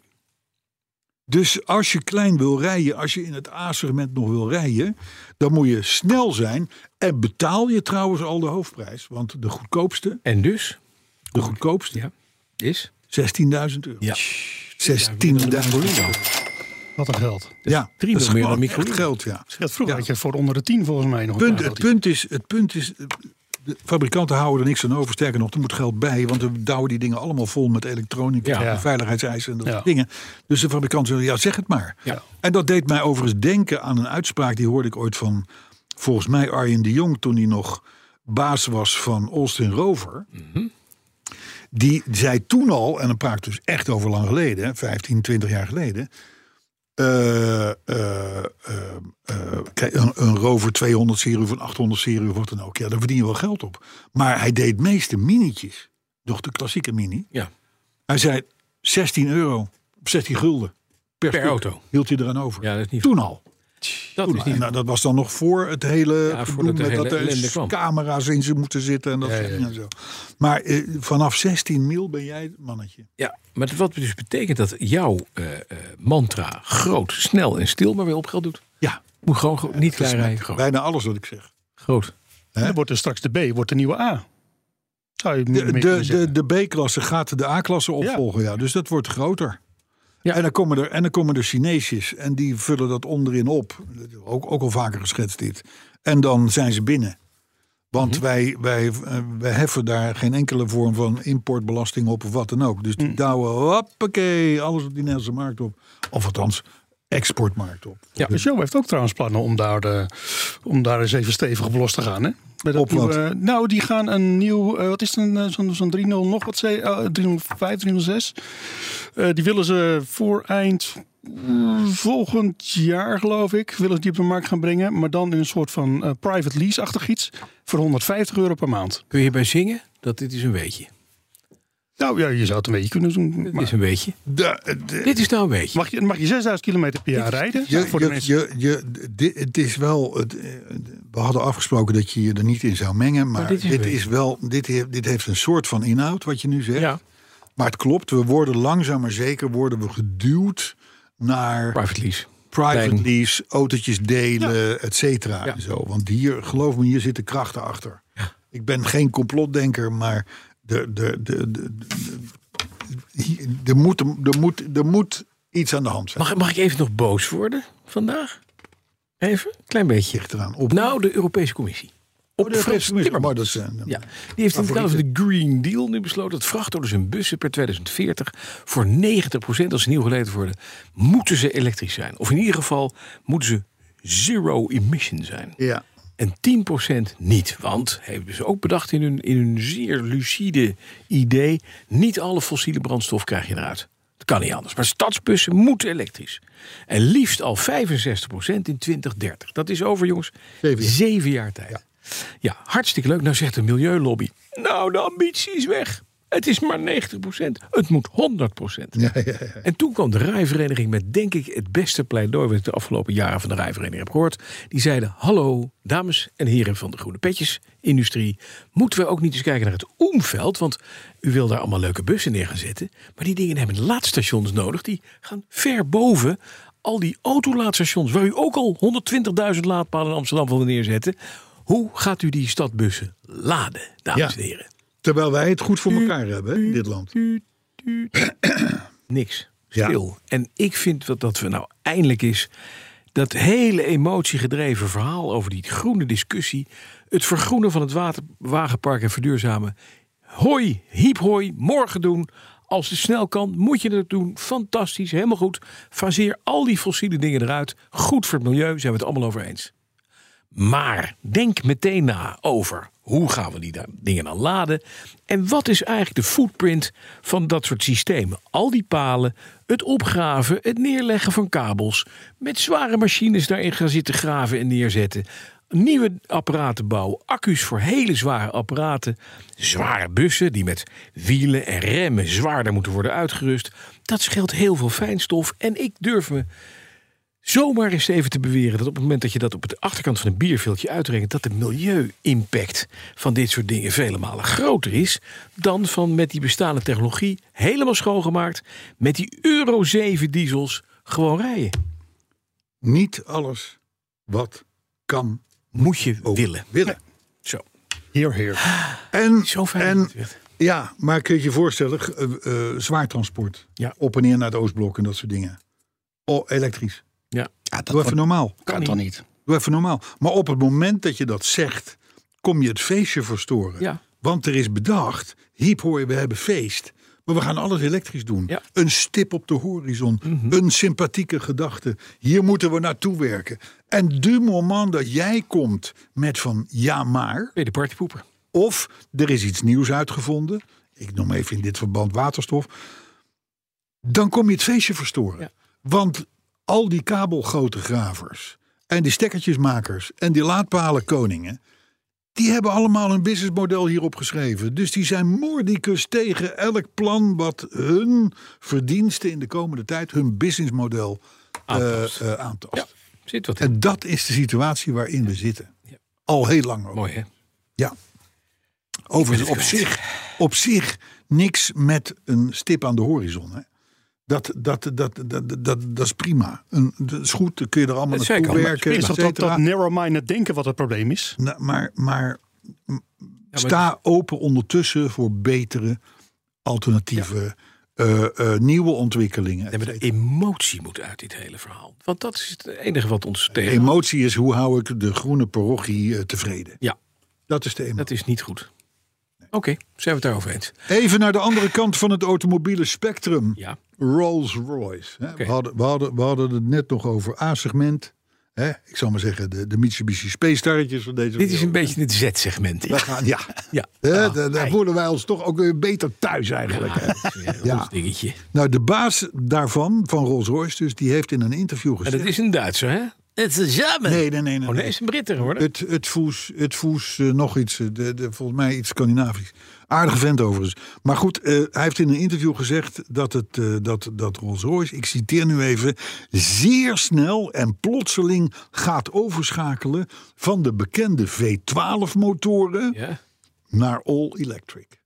S3: Dus als je klein wil rijden, als je in het A-segment nog wil rijden, dan moet je snel zijn. En betaal je trouwens al de hoofdprijs. Want de goedkoopste,
S2: En dus?
S3: de goedkoopste,
S2: Ja. Is?
S3: 16.000 euro.
S2: Ja.
S3: 16.000 euro.
S6: Wat een geld.
S3: Ja,
S2: drie
S3: dat is
S2: miljoen meer dan
S3: gewoon
S2: Michelin.
S3: echt geld, ja.
S6: Dat vroeger
S3: Ja.
S6: had je voor onder de tien volgens mij nog.
S3: Punt,
S6: daar
S3: het,
S6: dat
S3: punt is, het punt is, eh, de fabrikanten houden er niks aan over. Sterker nog, er moet geld bij, want we douwen die dingen allemaal vol met elektronica,
S2: Ja.
S3: en veiligheidseisen en dat
S6: Ja.
S3: soort dingen. Dus de fabrikanten zullen, ja zeg het maar.
S2: Ja.
S3: En dat deed mij overigens denken aan een uitspraak, die hoorde ik ooit van, volgens mij Arjen de Jong, toen hij nog baas was van Austin Rover.
S2: Mhm.
S3: Die zei toen al, en dan praat ik dus echt over lang geleden, hè, 15, 20 jaar geleden. eh, eh, eh, eh, kijk, een, een Rover 200 serie of een 800 serie of wat dan ook. Ja, daar verdien je wel geld op. Maar hij deed meeste minietjes. Toch de klassieke mini.
S2: Ja.
S3: Hij zei 16 euro, 16 gulden per,
S2: Per
S3: stuk
S2: auto.
S3: Hield hij eraan over.
S2: Ja, dat is niet
S3: Toen al.
S2: Dat
S3: Toen
S2: is
S3: al.
S2: niet...
S3: Nou, dat was dan nog voor het hele
S2: voordat
S3: gedoe
S2: de
S3: met
S2: hele
S3: dat
S2: ellende
S3: er
S2: kwam.
S3: camera's in ze moeten zitten en dat soort dingen en zo. Maar eh, vanaf 16 mil ben jij het mannetje.
S2: Ja, maar wat dus betekent dat jouw eh, eh, mantra groot, snel en stil maar weer op geld doet.
S3: Ja,
S2: Moet gewoon gro- niet
S3: dat
S2: klein
S3: is
S2: rijden, groot.
S3: bijna alles wat ik zeg.
S2: groot.
S6: hij- Dan wordt er straks de B, wordt de nieuwe A. Zou je
S3: De,
S6: meer
S3: de,
S6: kunnen zeggen.
S3: de, de B-klasse gaat de A-klasse opvolgen, ja. Dus dat wordt groter.
S2: Ja.
S3: En, dan komen er, en dan komen er Chineesjes en die vullen dat onderin op. Ook, ook al vaker geschetst dit. En dan zijn ze binnen. Want
S6: Mhm.
S3: wij, wij, eh, wij heffen daar geen enkele vorm van importbelasting op of wat dan ook. Dus die
S6: Mm.
S3: douwen, hoppakee, alles op die Nederlandse markt op. Of althans, exportmarkt op.
S6: De show heeft ook trouwens plannen om daar, de, om daar eens even stevig op los te gaan. Hè? Met dat
S3: Op wat?
S6: nieuwe- nou, die gaan een nieuw, eh, wat is het, een, eh, zo'n zo'n 300 nog wat, ze- eh, 305, 306. Eh, die willen ze voor eind mm, volgend jaar, geloof ik, willen ze die op de markt gaan brengen. Maar dan in een soort van eh, private lease-achtig iets voor 150 euro per maand.
S2: Kun je hierbij zingen? Dat dit is een weetje.
S6: Nou ja, je zou het een beetje kunnen doen.
S2: Dit
S6: maar-
S2: is een weetje.
S3: De, de-
S2: Dit is nou een weetje.
S6: mag, je, mag je 6000 kilometer per jaar rijden?
S3: Je,
S6: voor de
S3: je,
S6: mensen.
S3: je, je- di- het is wel. het, eh, we hadden afgesproken dat je je er niet in zou mengen. Maar,
S2: Maar dit
S3: dit,
S2: is
S3: is
S2: weer-
S3: wel. Dit, he- dit heeft een soort van inhoud, wat je nu zegt.
S2: Ja,
S3: Maar het klopt, we worden langzaam maar zeker worden we geduwd naar
S2: private lease.
S3: private
S2: Leiding.
S3: lease, autootjes delen, et cetera.
S2: Ja.
S3: en Zo. Want hier, geloof me, hier zitten krachten achter. Ik ben geen complotdenker, maar de, de, de, de, de- de- hier- er, moet, er, moet, er moet iets aan de hand zijn.
S2: Mag, mag ik even nog boos worden vandaag? Even? Klein beetje.
S3: Ligt eraan op. Oh,
S2: Nou, de Europese Commissie. Op
S3: de Europese Commissie.
S2: Timmermans.
S3: Maar dat is, eh,
S2: Ja, die heeft in het kader van de Green Deal nu besloten dat vrachtauto's en bussen per 2040 voor 90% als ze nieuw geleverd worden, moeten ze elektrisch zijn. Of in ieder geval moeten ze zero emission zijn.
S3: Ja.
S2: En 10% niet. Want, hebben ze ook bedacht in hun, in hun zeer lucide idee, niet alle fossiele brandstof krijg je eruit. Dat kan niet anders. Maar stadsbussen moeten elektrisch. En liefst al 65% in 2030. Dat is over, jongens,
S3: Zeven
S2: zeven
S3: jaar.
S2: jaar, tijd. Ja. hartstikke leuk. Nou zegt de milieulobby, nou de ambitie is weg. Het is maar 90%. Het moet 100%.
S3: Ja, ja, ja.
S2: En toen kwam de rijvereniging met, denk ik, het beste pleidooi... wat ik de afgelopen jaren van de rijvereniging heb gehoord. Die zeiden, hallo, dames en heren van de groene petjesindustrie... moeten we ook niet eens kijken naar het omveld? Want u wil daar allemaal leuke bussen neer gaan zetten. Maar die dingen hebben laadstations nodig. Die gaan ver boven al die autolaadstations... waar u ook al 120.000 laadpalen in Amsterdam wilde neerzetten. Hoe gaat u die stadbussen laden, dames
S3: Ja.
S2: en heren?
S3: Terwijl wij het goed voor elkaar hebben hè, in dit land.
S2: Niks.
S3: Ja.
S2: Stil. En ik vind dat, dat we nou eindelijk eens dat hele emotiegedreven verhaal over die groene discussie, het vergroenen van het water, wagenpark en verduurzamen. Hoi, hiep hoi, morgen doen. Als het snel kan, moet je dat doen. Fantastisch, helemaal goed. Faseer al die fossiele dingen eruit. Goed voor het milieu, zijn we het allemaal over eens. Maar denk meteen na over hoe gaan we die da- dingen dan laden? En wat is eigenlijk de footprint van dat soort systemen? Al die palen, het opgraven, het neerleggen van kabels, met zware machines daarin gaan zitten graven en neerzetten. Nieuwe apparaten bouwen, accu's voor hele zware apparaten, zware bussen die met wielen en remmen zwaarder moeten worden uitgerust. Dat scheelt heel veel fijnstof en ik durf me Zomaar is even te beweren dat op het moment dat je dat op de achterkant van een bierviltje uitrekent, dat de milieu-impact van dit soort dingen vele malen groter is dan van met die bestaande technologie helemaal schoongemaakt, met die Euro 7 diesels gewoon rijden.
S3: Niet alles wat kan
S2: Moet je
S3: ook
S2: willen.
S3: willen.
S2: Zo,
S6: Heer, heer.
S3: En,
S2: zo fijn.
S3: en
S2: dat het werd.
S3: ja, maar kun je je voorstellen, g- eh, eh, zwaar transport.
S2: Ja.
S3: Op en neer naar het Oostblok en dat soort dingen. Oh, elektrisch.
S2: Ja.
S6: Ja, dat
S3: Doe even
S6: wordt-
S3: normaal.
S6: kan toch niet?
S3: Doe even normaal. Maar op het moment dat je dat zegt, kom je het feestje verstoren.
S2: Ja.
S3: Want er is bedacht, hiep hoor je, we hebben feest. Maar we gaan alles elektrisch doen.
S2: Ja.
S3: Een stip op de horizon. Een sympathieke gedachte. Hier moeten we naartoe werken. En du moment dat jij komt met van ja maar.
S2: Tweede partypoeper.
S3: Of er is iets nieuws uitgevonden. Ik noem even in dit verband waterstof. Dan kom je het feestje verstoren.
S2: Ja.
S3: Want al die kabelgotengravers en die stekkertjesmakers en die laadpalenkoningen... die hebben allemaal een businessmodel hierop geschreven. Dus die zijn moordicus tegen elk plan wat hun verdiensten in de komende tijd... hun businessmodel eh,
S2: Aantast.
S3: eh, aantast.
S2: Ja, zit wat in.
S3: En dat is de situatie waarin we zitten. Al heel lang ook.
S2: Mooi hè?
S3: Ja. Overigens
S2: Ik
S3: op
S2: ben het kwijt.
S3: zich, op zich niks met een stip aan de horizon. Hè. Dat, dat, dat, dat, dat, dat, dat is prima. Een, dat is goed, dan kun je er allemaal
S2: Dat
S3: naartoe
S2: zeker, maar
S3: werken,
S2: het is
S3: et
S6: Is dat dat,
S3: cetera.
S6: dat narrow-minded denken wat het probleem is?
S3: Nou, maar, maar sta open ondertussen voor betere alternatieven, eh, eh, nieuwe ontwikkelingen.
S2: Nee,
S3: et
S2: maar de emotie moet uit dit hele verhaal. Want dat is het enige wat ons
S3: cetera.
S2: tegen.
S3: Emotie is hoe hou ik de groene parochie eh, tevreden.
S2: Ja,
S3: Dat is de emotie.
S2: dat is niet goed. Oké, zijn we het daarover eens?
S3: Even naar de andere kant van het automobiele spectrum.
S2: Ja.
S3: Rolls Royce. Hè.
S2: Oké.
S3: We, hadden, we, hadden, we hadden het net nog over A-segment. Hè, Ik zal maar zeggen, de, de Mitsubishi Space Tarretjes van deze
S2: Dit is een
S3: wereld.
S2: beetje het Z-segment.
S3: We gaan, ja.
S2: Ja.
S3: Hè,
S2: Ah,
S3: da- daar
S2: ei.
S3: voelen wij ons toch ook weer beter thuis eigenlijk. hè.
S2: Dat is weer
S3: Ja.
S2: Ons dingetje.
S3: Nou, de baas daarvan, van Rolls Royce dus, die heeft in een interview
S2: Maar
S3: gezegd...
S2: dat is een Duitser, hè? Het is jammer.
S3: Nee, nee, nee. nee,
S2: Oh nee,
S3: nee.
S2: is een Britter hoor.
S3: Het, het voes, het voes eh, nog iets, eh, de, de, volgens mij iets Scandinavisch. Aardige vent overigens. Maar goed, eh, hij heeft in een interview gezegd dat, het, eh, dat, dat Rolls-Royce, ik citeer nu even, zeer snel en plotseling gaat overschakelen van de bekende V12-motoren
S2: Ja.
S3: naar all-electric.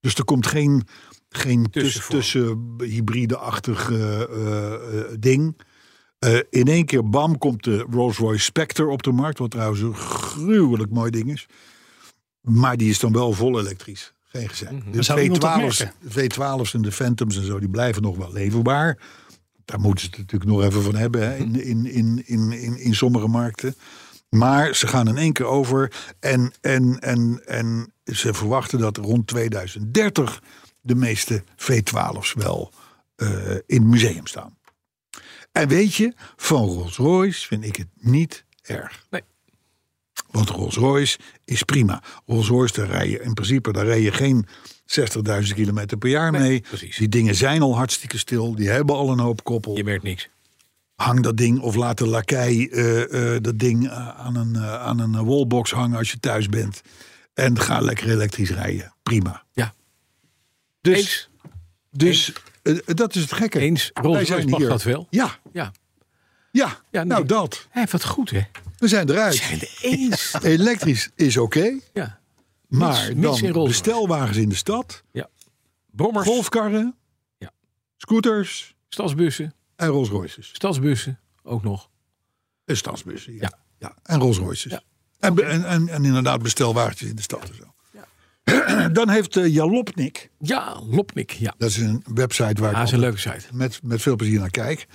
S3: Dus er komt geen, geen tussen,
S2: Tussenvorm.
S3: tussen hybride-achtig eh, eh, eh, ding. Eh, in één keer, bam, komt de Rolls-Royce Spectre op de markt. Wat trouwens een gruwelijk mooi ding is. Maar die is dan wel vol elektrisch. Geen gezegd. De
S6: Dat Mhm. zou iemand toch
S3: V12's, V12's en de Phantoms en zo, die blijven nog wel leverbaar. Daar moeten ze het natuurlijk nog even van hebben hè, in, in, in, in, in, in sommige markten. Maar ze gaan in één keer over. En, en, en, en ze verwachten dat rond 2030 de meeste V12's wel eh, in het museum staan. En weet je, van Rolls-Royce vind ik het niet erg.
S2: Nee.
S3: Want Rolls-Royce is prima. Rolls-Royce, daar rij je in principe daar rij je geen 60.000 kilometer per jaar mee.
S2: precies.
S3: Die dingen zijn al hartstikke stil. Die hebben al een hoop koppel
S2: Je merkt niks.
S3: hang dat ding of laat de lakij eh, eh, dat ding eh, aan, een, eh, aan een eh, wallbox hangen als je thuis bent. En ga lekker elektrisch rijden. Prima.
S2: Ja.
S3: Dus,
S2: Eens.
S3: dus eh, dat is het gekke.
S2: Eens.
S3: Wij
S2: Rolls-Royce
S3: zijn
S2: mag
S3: hier.
S2: dat wel.
S3: Ja,
S2: Ja.
S3: ja.
S2: Ja,
S3: nou
S2: nee.
S3: dat.
S2: Hij heeft wat goed, hè?
S3: We zijn
S2: We
S3: eruit.
S2: zijn het eens.
S3: Elektrisch is oké,
S2: Ja.
S3: maar
S2: mits in
S3: dan
S2: Rolls-Royce.
S3: bestelwagens in de stad,
S2: ja. Brommers,
S3: golfkarren,
S2: Ja.
S3: scooters
S2: stadsbussen,
S3: en Rolls-Royces.
S2: stadsbussen ook nog.
S3: En stadsbussen, ja.
S2: Ja.
S3: ja. en Rolls-Royces.
S2: Ja.
S3: En, be- en, en, en inderdaad bestelwagentjes in de stad en zo. (clears throat) Dan heeft eh, Jalopnik,
S2: Ja, Lopnik. Ja,
S3: dat is een website waar
S2: ah, is
S3: ik
S2: een
S3: altijd
S2: leuke site.
S3: met, met veel plezier naar kijk.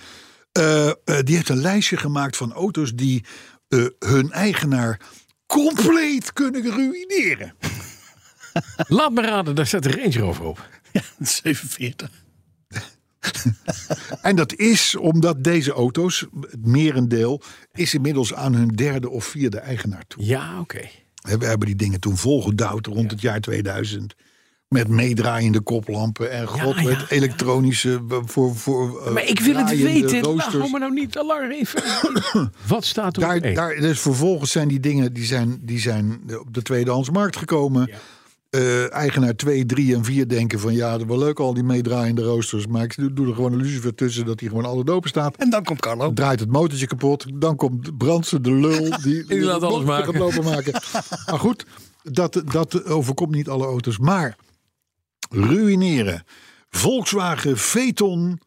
S3: eh, eh, die heeft een lijstje gemaakt van auto's die eh, hun eigenaar compleet kunnen ruïneren.
S2: Laat me raden, daar staat de Range Rover op.
S6: 47.
S3: En dat is omdat deze auto's, het merendeel, is inmiddels aan hun derde of vierde eigenaar toe.
S2: Ja, oké.
S3: Hè, We hebben die dingen toen volgedouwd rond het jaar 2000. Met meedraaiende koplampen en god
S2: ja,
S3: weet,
S2: ja.
S3: elektronische eh, voor, voor eh,
S2: Maar ik wil het
S3: draaiende
S2: weten. Nou,
S3: roosters.
S2: hou me nou niet alarm even. Wat staat er op
S3: Daar,
S2: één?
S3: daar, dus vervolgens zijn die dingen die zijn, die zijn op de tweedehandsmarkt gekomen. eh, eigenaar 2, 3 en 4 denken van ja, dat is wel leuk al die meedraaiende roosters. Maar ik doe, doe er gewoon een lucifer tussen dat hij gewoon altijd open staat.
S6: En dan komt Carlo.
S3: Draait het motortje kapot. Dan komt Brandsen de lul.
S6: (laughs)
S3: Die, die
S2: laat
S3: de
S2: alles
S3: bocht
S2: maken.
S3: Gaat lopen maken. maar goed, dat, dat overkomt niet alle auto's. Maar ruïneren. Volkswagen Veton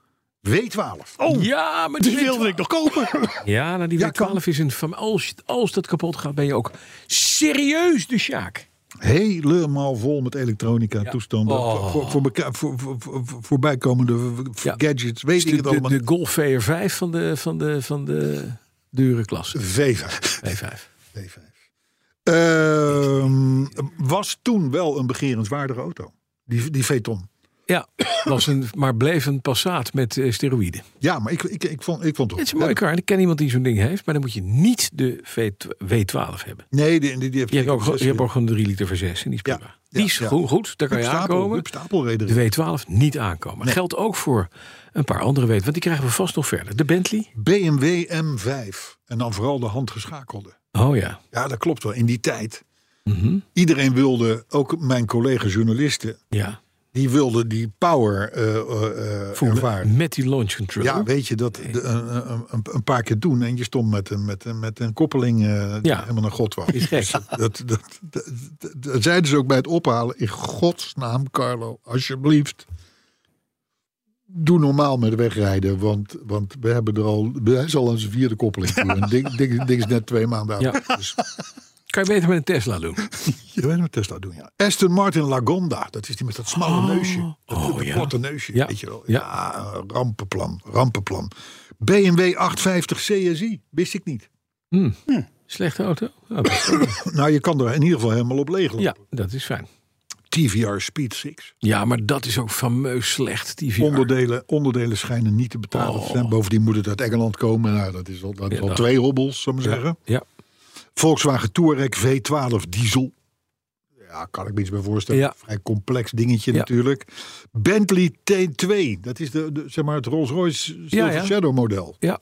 S3: W12.
S6: Oh,
S2: Ja, maar
S6: die wilde ik nog kopen.
S2: Ja, nou die
S3: Ja,
S2: W12 is een van als, als dat kapot gaat, ben je ook serieus de Sjaak.
S3: (laughs) Helemaal vol met elektronica toestanden.
S2: Oh.
S3: Voor, voor, elkaar- voor, voor, voor- voor- voorbijkomende v- v-
S2: Ja.
S3: gadgets. Weet ik
S2: De,
S3: het
S2: de,
S3: allemaal.
S2: de Golf VR5 van de, van de, van de dure klasse.
S6: (laughs)
S3: V5.
S2: W5.
S3: V5. Ehm, was toen wel een begerenswaardige auto. Die, die Veton.
S2: Ja, (coughs) was een, maar bleef een Passaat met eh, steroïden.
S3: Ja, maar ik, ik, ik, vond, ik vond
S2: Het
S3: het wel-
S2: is een mooie kar. en Ik ken iemand die zo'n ding heeft, maar dan moet je niet de V12 W12 hebben.
S3: Nee, die, die, die heeft,
S2: Je hebt ook,
S3: zes
S2: je hebt
S3: wielen.
S2: ook gewoon 3 liter voor 6 en die is
S3: Ja,
S2: prima.
S3: ja,
S2: die is
S3: ja.
S2: goed, goed, daar kan je
S3: Huub Stapel-
S2: aankomen.
S3: Huub Stapel reed erin.
S2: De W12 niet aankomen. Geldt ook voor een paar andere W12, want die krijgen we vast nog verder. De Bentley?
S3: BMW M5. En dan vooral de handgeschakelde.
S2: Oh ja.
S3: Ja, dat klopt wel. In die tijd.
S2: Mhm.
S3: Iedereen wilde, ook mijn collega journalisten,
S2: Ja.
S3: die wilde die power eh eh, eh, ervaren.
S2: Met die launch control.
S3: Ja, weet je, dat de- een, een- een, een paar keer doen en je stond met een, met een, met een koppeling eh, die
S2: Ja.
S3: helemaal naar God was.
S2: Is gek.
S3: (laughs) Dus dat, dat, dat, dat- dat zeiden ze ook bij het ophalen. In godsnaam, Carlo, alsjeblieft. Doe normaal met wegrijden, want, want we hebben er al, hij is al aan zijn vierde koppeling. toe. En ding, ding, ding is net twee maanden oud.
S2: Ja.
S3: Dus
S2: Kan je beter met een Tesla doen.
S3: je weet wat Tesla doen, ja. Aston Martin Lagonda, dat is die met dat smalle neusje. Dat
S2: Oh, ja.
S3: korte neusje,
S2: Ja.
S3: weet je wel.
S2: Ja.
S3: Ja. rampenplan, rampenplan. BMW 850 CSI, wist ik niet.
S2: Slechte auto? Oh,
S3: (laughs) Nou, je kan er in ieder geval helemaal op leeg lopen.
S2: ja, dat is fijn.
S3: TVR Speed 6.
S2: Ja, maar dat is ook fameus slecht. Die VR.
S3: Onderdelen, onderdelen schijnen niet te betalen te zijn. Bovendien moet het uit Engeland komen. Nou, dat is al, dat is al
S2: Oh. Ja.
S3: twee hobbels, zou ik maar zeggen.
S2: Ja.
S3: Volkswagen Touareg V12 diesel. Ja, kan ik me iets bij voorstellen.
S2: Ja.
S3: Vrij complex dingetje
S2: Ja.
S3: natuurlijk. Bentley T2. Dat is de, de, zeg maar het Rolls-Royce Silver
S2: ja.
S3: Shadow model.
S2: ja.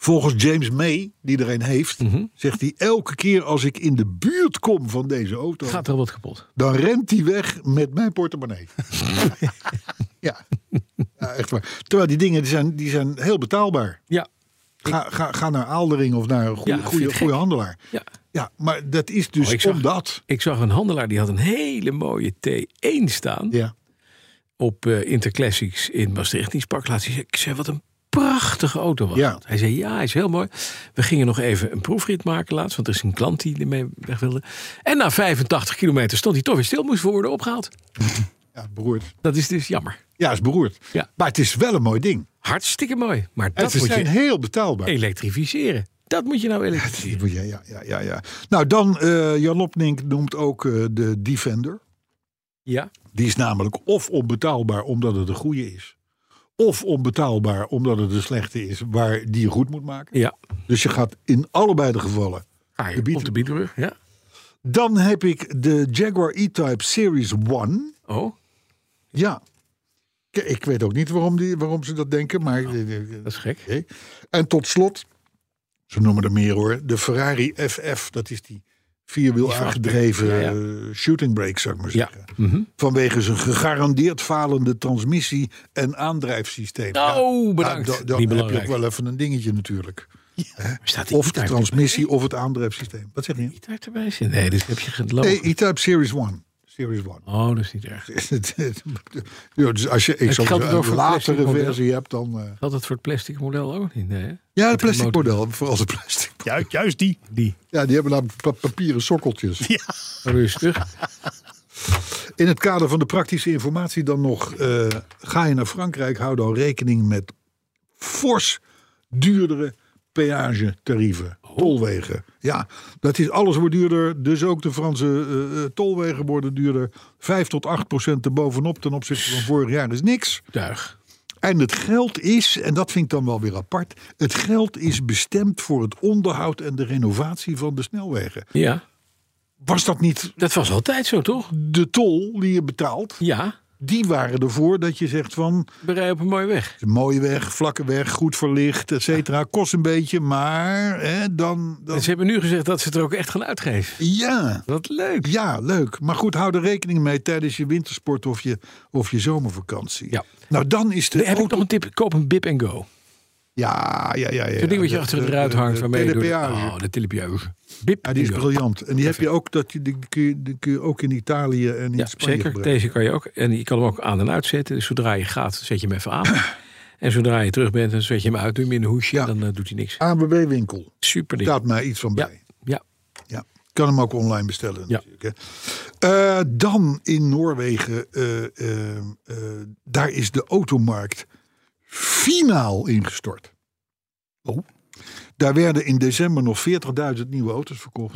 S3: Volgens James May, die er een heeft,
S2: Mhm.
S3: zegt hij... elke keer als ik in de buurt kom van deze auto...
S2: Gaat er wat kapot.
S3: dan rent hij weg met mijn portemonnee. ja. ja, echt waar. Terwijl die dingen die zijn, die zijn heel betaalbaar.
S2: Ja.
S3: Ga, ga, ga naar Aaldering of naar een goede,
S2: Ja, vind
S3: goede,
S2: ik
S3: goede
S2: gek.
S3: handelaar.
S2: ja.
S3: Ja, maar dat is dus
S2: Oh, ik zag-
S3: omdat.
S2: Ik zag een handelaar die had een hele mooie T1 staan.
S3: Ja.
S2: Op eh, Interclassics in Maastricht. Die sprak laatst. Die zei, Ik zei, wat een prachtige auto was
S3: Ja.
S2: dat. Hij zei, ja, hij is heel mooi. We gingen nog even een proefrit maken laatst. Want er is een klant die ermee weg wilde. En na 85 kilometer stond hij toch weer stil. Moest worden opgehaald.
S3: ja, beroerd.
S2: Dat is dus jammer.
S3: Ja, is beroerd.
S2: Ja.
S3: Maar het is wel een mooi ding.
S2: Hartstikke mooi. Maar
S3: En
S2: dat
S3: ze
S2: moet
S3: zijn
S2: je
S3: heel betaalbaar.
S2: elektrificeren. Dat moet je nou
S3: Die
S2: elektrificeren.
S3: moet je- Ja, ja, ja, ja. Nou, dan eh Jan Lopnink noemt ook eh, de Defender.
S2: Ja.
S3: Die is namelijk of onbetaalbaar omdat het een goede is. Of onbetaalbaar omdat het een slechte is waar die je goed moet maken.
S2: Ja.
S3: Dus je gaat in allebei de gevallen.
S2: Ah,
S3: De
S2: op de Bietbrug. Ja.
S3: Dan heb ik de Jaguar E-Type Series 1.
S2: Oh,
S3: Ja. K- Ik weet ook niet waarom, die, waarom ze dat denken, maar... eh, eh,
S2: Nou, dat is gek.
S3: Oké. En tot slot, ze noemen er meer hoor, de Ferrari FF. Dat is die vierwiel aangedreven
S2: ja,
S3: eh, shooting brake, zou ik maar
S2: Ja. Mhm.
S3: zeggen. Vanwege zijn gegarandeerd falende transmissie en aandrijfsysteem.
S2: Oh,
S3: Ja,
S2: bedankt.
S3: dan- dan
S2: Niet
S3: heb je
S2: belangrijk.
S3: ook wel even een dingetje natuurlijk.
S2: Staat die
S3: Of de
S2: E-Type
S3: transmissie of het aandrijfsysteem. Wat zeg je?
S2: erbij? E-Type erbij zitten? Nee, dus heb je gelopen.
S3: Nee, E-Type Series 1. Series 1.
S2: Oh, dat is niet erg.
S3: (laughs) Ja, dus als je ik
S2: Het
S3: zou
S2: geldt
S3: zeggen,
S2: ook
S3: een
S2: voor plastic
S3: latere
S2: model.
S3: versie hebt dan... eh,
S2: Had dat voor het plastic model ook niet? Nee, hè?
S3: ja, het
S2: Met
S3: plastic
S2: motor.
S3: model. Vooral de plastic
S6: Ju- juist die.
S2: Die.
S3: Ja, die hebben namelijk pa- papieren sokkeltjes.
S2: Rustig.
S3: In het kader van de praktische informatie dan nog. eh, ga je naar Frankrijk, hou dan rekening met fors duurdere peagetarieven. Tolwegen. Ja, dat is, alles wordt duurder. Dus ook de Franse eh, eh, tolwegen worden duurder. 5 tot 8 procent erbovenop ten opzichte van vorig jaar is niks.
S2: Tuig.
S3: En het geld is, en dat vind ik dan wel weer apart. Het geld is bestemd voor het onderhoud en de renovatie van de snelwegen.
S2: Ja,
S3: Was dat niet
S2: dat was altijd zo, toch?
S3: de tol die je betaalt,
S2: Ja.
S3: Die waren ervoor dat je zegt van
S2: We rijden op een mooie weg.
S3: Een mooie weg, vlakke weg, goed verlicht, et cetera. Kost een beetje, maar hè, dan... dan
S2: En ze hebben nu gezegd dat ze het er ook echt gaan uitgeven.
S3: ja,
S2: Wat leuk.
S3: ja, leuk. Maar goed, hou er rekening mee tijdens je wintersport of je, of je zomervakantie.
S2: Ja.
S3: Nou, dan is de
S2: Heb ik
S3: auto-
S2: nog een tip? Koop een Bip Go. Zo'n
S3: Ja, ja, ja. ja,
S2: ding wat je
S3: De-
S2: achter
S3: de-
S2: het ruit
S3: eh, de-
S2: hangt.
S3: de
S2: Waarmee je door de-
S3: telepeage.
S2: oh, de telepeage. Bip
S3: Ja, die is
S2: Go.
S3: briljant. En die heb je ook, dat je, die, kun je, die kun je ook in Italië en in
S2: Ja,
S3: Spanje
S2: zeker.
S3: gebruiken.
S2: Deze kan je ook. En je kan hem ook aan en uitzetten. Dus zodra je gaat, zet je hem even aan.
S3: (clears throat)
S2: en zodra je terug bent, dan zet je hem uit. Doe je hem in een hoesje.
S3: Ja. Nou,
S2: Dan eh, doet hij niks.
S3: ABB winkel.
S2: Super ding.
S3: Staat mij iets van
S2: Ja,
S3: bij.
S2: ja.
S3: Ja. Kan hem ook online bestellen
S2: Ja.
S3: natuurlijk. Hè. Eh, dan in Noorwegen, eh, eh, eh, daar is de automarkt finaal ingestort.
S6: Oh.
S3: Daar werden in december nog 40.000 nieuwe auto's verkocht.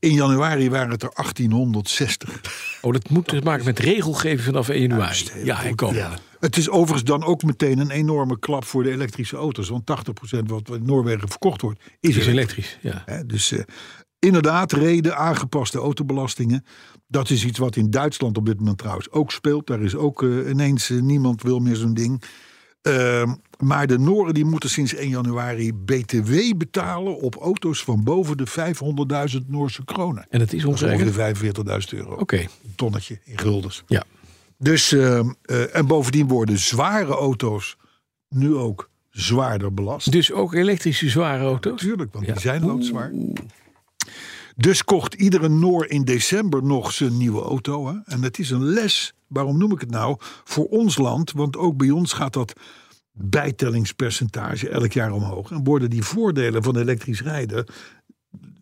S3: In januari waren het er 1860.
S2: Oh, dat moet te maken met regelgeving vanaf 1 januari. Ja, en komen.
S3: Ja. Het is overigens dan ook meteen een enorme klap voor de elektrische auto's. Want 80% wat in Noorwegen verkocht wordt, is,
S2: Het is
S3: elektrisch.
S2: elektrisch. Ja.
S3: Hè, dus eh, inderdaad, reden aangepaste autobelastingen. Dat is iets wat in Duitsland op dit moment trouwens ook speelt. Daar is ook eh, ineens eh, niemand wil meer zo'n ding. Ehm, maar de Noren die moeten sinds 1 januari BTW betalen op auto's van boven de 500.000 Noorse kronen.
S2: En het is
S3: Dat is ongeveer
S2: ongeveer.
S3: 45.000 euro.
S2: Oké.
S3: Een tonnetje in guldens.
S2: Ja.
S3: Dus, ehm, eh, en bovendien worden zware auto's nu ook zwaarder belast.
S2: Dus ook elektrische zware auto's.
S3: Tuurlijk, want
S2: Ja.
S3: die zijn loodzwaar. Dus kocht iedere Noor in december nog zijn nieuwe auto. Hè? En dat is een les, waarom noem ik het nou, voor ons land. Want ook bij ons gaat dat bijtellingspercentage elk jaar omhoog. En worden die voordelen van elektrisch rijden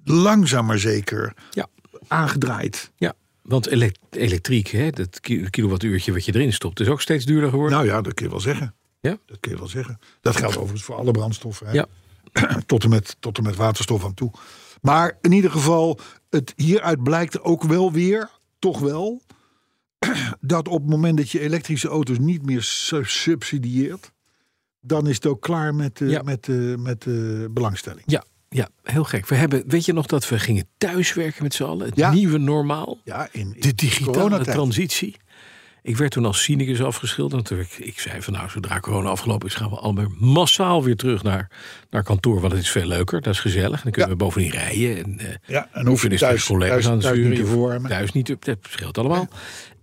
S3: langzaam maar zeker
S2: Ja.
S3: aangedraaid.
S2: Ja. Want elek- elektriek, hè, dat ki- kilowattuurtje wat je erin stopt, is ook steeds duurder geworden.
S3: Nou ja, dat kun je wel zeggen.
S2: Ja?
S3: Dat kun je wel zeggen. Dat geldt overigens voor alle brandstoffen. Hè?
S2: Ja.
S3: tot, en met, tot en met waterstof aan toe. Maar in ieder geval, het, hieruit blijkt ook wel weer, toch wel, (clears throat) dat op het moment dat je elektrische auto's niet meer su- subsidieert, dan is het ook klaar met, eh,
S2: Ja.
S3: met, eh, met eh, belangstelling.
S2: Ja, ja, heel gek. We hebben, weet je nog dat we gingen thuiswerken met z'n allen? Het
S3: Ja.
S2: nieuwe normaal.
S3: Ja, in, in
S2: De digitale
S3: coronatijd.
S2: transitie. Ik werd toen als cynicus afgeschilderd. Want ik, ik zei van nou, zodra corona afgelopen is, gaan we allemaal massaal weer terug naar, naar kantoor. Want het is veel leuker, dat is gezellig. En dan kunnen we bovendien rijden. En, eh,
S3: Ja, en hoef je
S2: dus
S3: thuis,
S2: met collega's
S3: thuis,
S2: aan het
S3: thuis
S2: sturen.
S3: niet te verwarmen.
S2: Thuis niet, op- dat scheelt allemaal.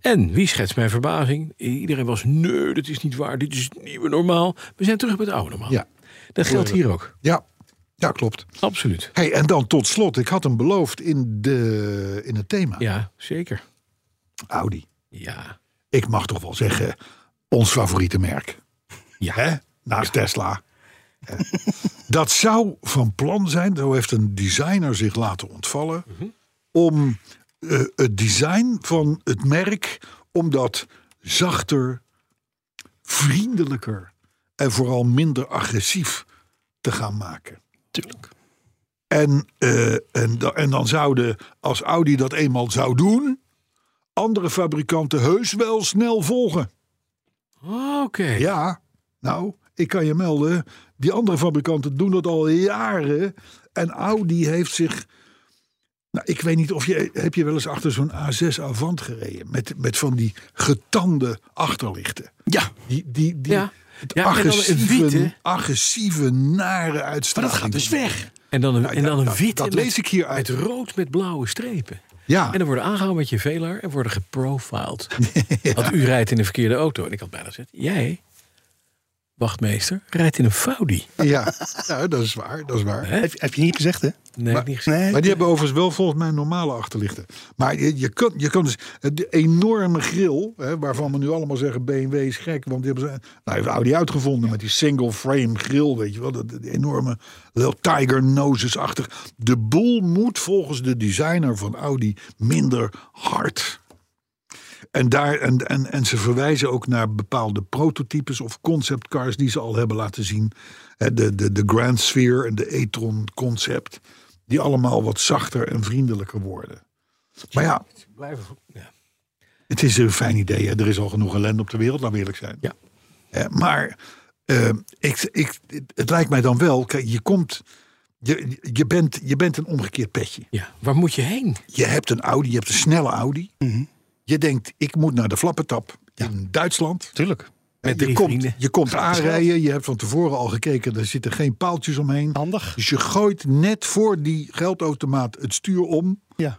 S2: En wie schetst mijn verbazing? Iedereen was, nee, dat is niet waar. Dit is het nieuwe normaal. We zijn terug bij het oude normaal.
S3: Ja.
S2: Dat geldt hier ook.
S3: Ja, ja klopt.
S2: Absoluut.
S3: Hey, en dan tot slot, ik had hem beloofd in, de, in het thema.
S2: Ja, zeker.
S3: Audi.
S2: Ja.
S3: Ik mag toch wel zeggen, ons favoriete merk.
S2: Ja.
S3: Hè? Naast Tesla. Hè? Dat zou van plan zijn, zo heeft een designer zich laten ontvallen, om eh, het design van het merk, om dat zachter, vriendelijker en vooral minder agressief te gaan maken.
S6: Tuurlijk.
S3: En, eh, en, da- en dan zouden, als Audi dat eenmaal zou doen, andere fabrikanten heus wel snel volgen.
S2: Oké.
S3: Ja, nou, ik kan je melden, die andere fabrikanten doen dat al jaren. En Audi heeft zich. Nou, ik weet niet of je. Heb je wel eens achter zo'n A6 Avant gereden? Met, met van die getande achterlichten.
S6: Ja,
S3: Die, die, die,
S2: Ja.
S3: Het
S2: Ja, en dan een witte.
S3: agressieve, agressieve, nare
S6: maar
S3: uitstraling.
S6: dat gaat dus weg.
S2: En dan een,
S3: Nou,
S2: en dan
S3: dat-
S2: een witte
S3: dat
S2: met-
S3: lees ik hier uit.
S2: Met rood met blauwe strepen.
S3: Ja.
S2: En dan worden aangehouden met je velaar en worden
S3: (laughs)
S2: geprofiled. Want u rijdt in een verkeerde auto. En ik had bijna gezegd, jij, wachtmeester, rijdt in een Faudi.
S3: Ja, nou, dat is waar. Dat is waar.
S6: Heb, heb je niet gezegd, hè?
S2: Nee, heb ik niet gezien.
S6: Nee.
S3: Maar die hebben overigens wel volgens mij normale achterlichten. Maar je, je, kan, je kan dus de enorme grill, hè, waarvan we nu allemaal zeggen BMW is gek, want die hebben ze, nou heeft Audi uitgevonden met die single frame grill, weet je wel, dat, dat enorme little tiger noses achter. De boel moet volgens de designer van Audi minder hard. En, daar, en, en, en ze verwijzen ook naar bepaalde prototypes of conceptcars die ze al hebben laten zien. Hè, De, de, de Grand Sphere en de e-tron concept. Die allemaal wat zachter en vriendelijker worden. Maar ja,
S2: Ja.
S3: het is een fijn idee. Hè? Er is al genoeg ellende op de wereld, laten we eerlijk zijn.
S2: Ja.
S3: Hè, maar eh, ik, ik, het lijkt mij dan wel, kijk, je komt, je, je, bent, je bent een omgekeerd petje.
S2: ja, waar moet je heen?
S3: Je hebt een Audi, je hebt een snelle Audi. Je denkt, ik moet naar de flappentap. in Duitsland.
S6: Tuurlijk.
S2: Met
S3: je,
S2: drie
S3: komt,
S2: vrienden.
S3: je komt aanrijden, je hebt van tevoren al gekeken, er zitten geen paaltjes omheen.
S6: Handig.
S3: Dus je gooit net voor die geldautomaat het stuur om.
S6: Ja.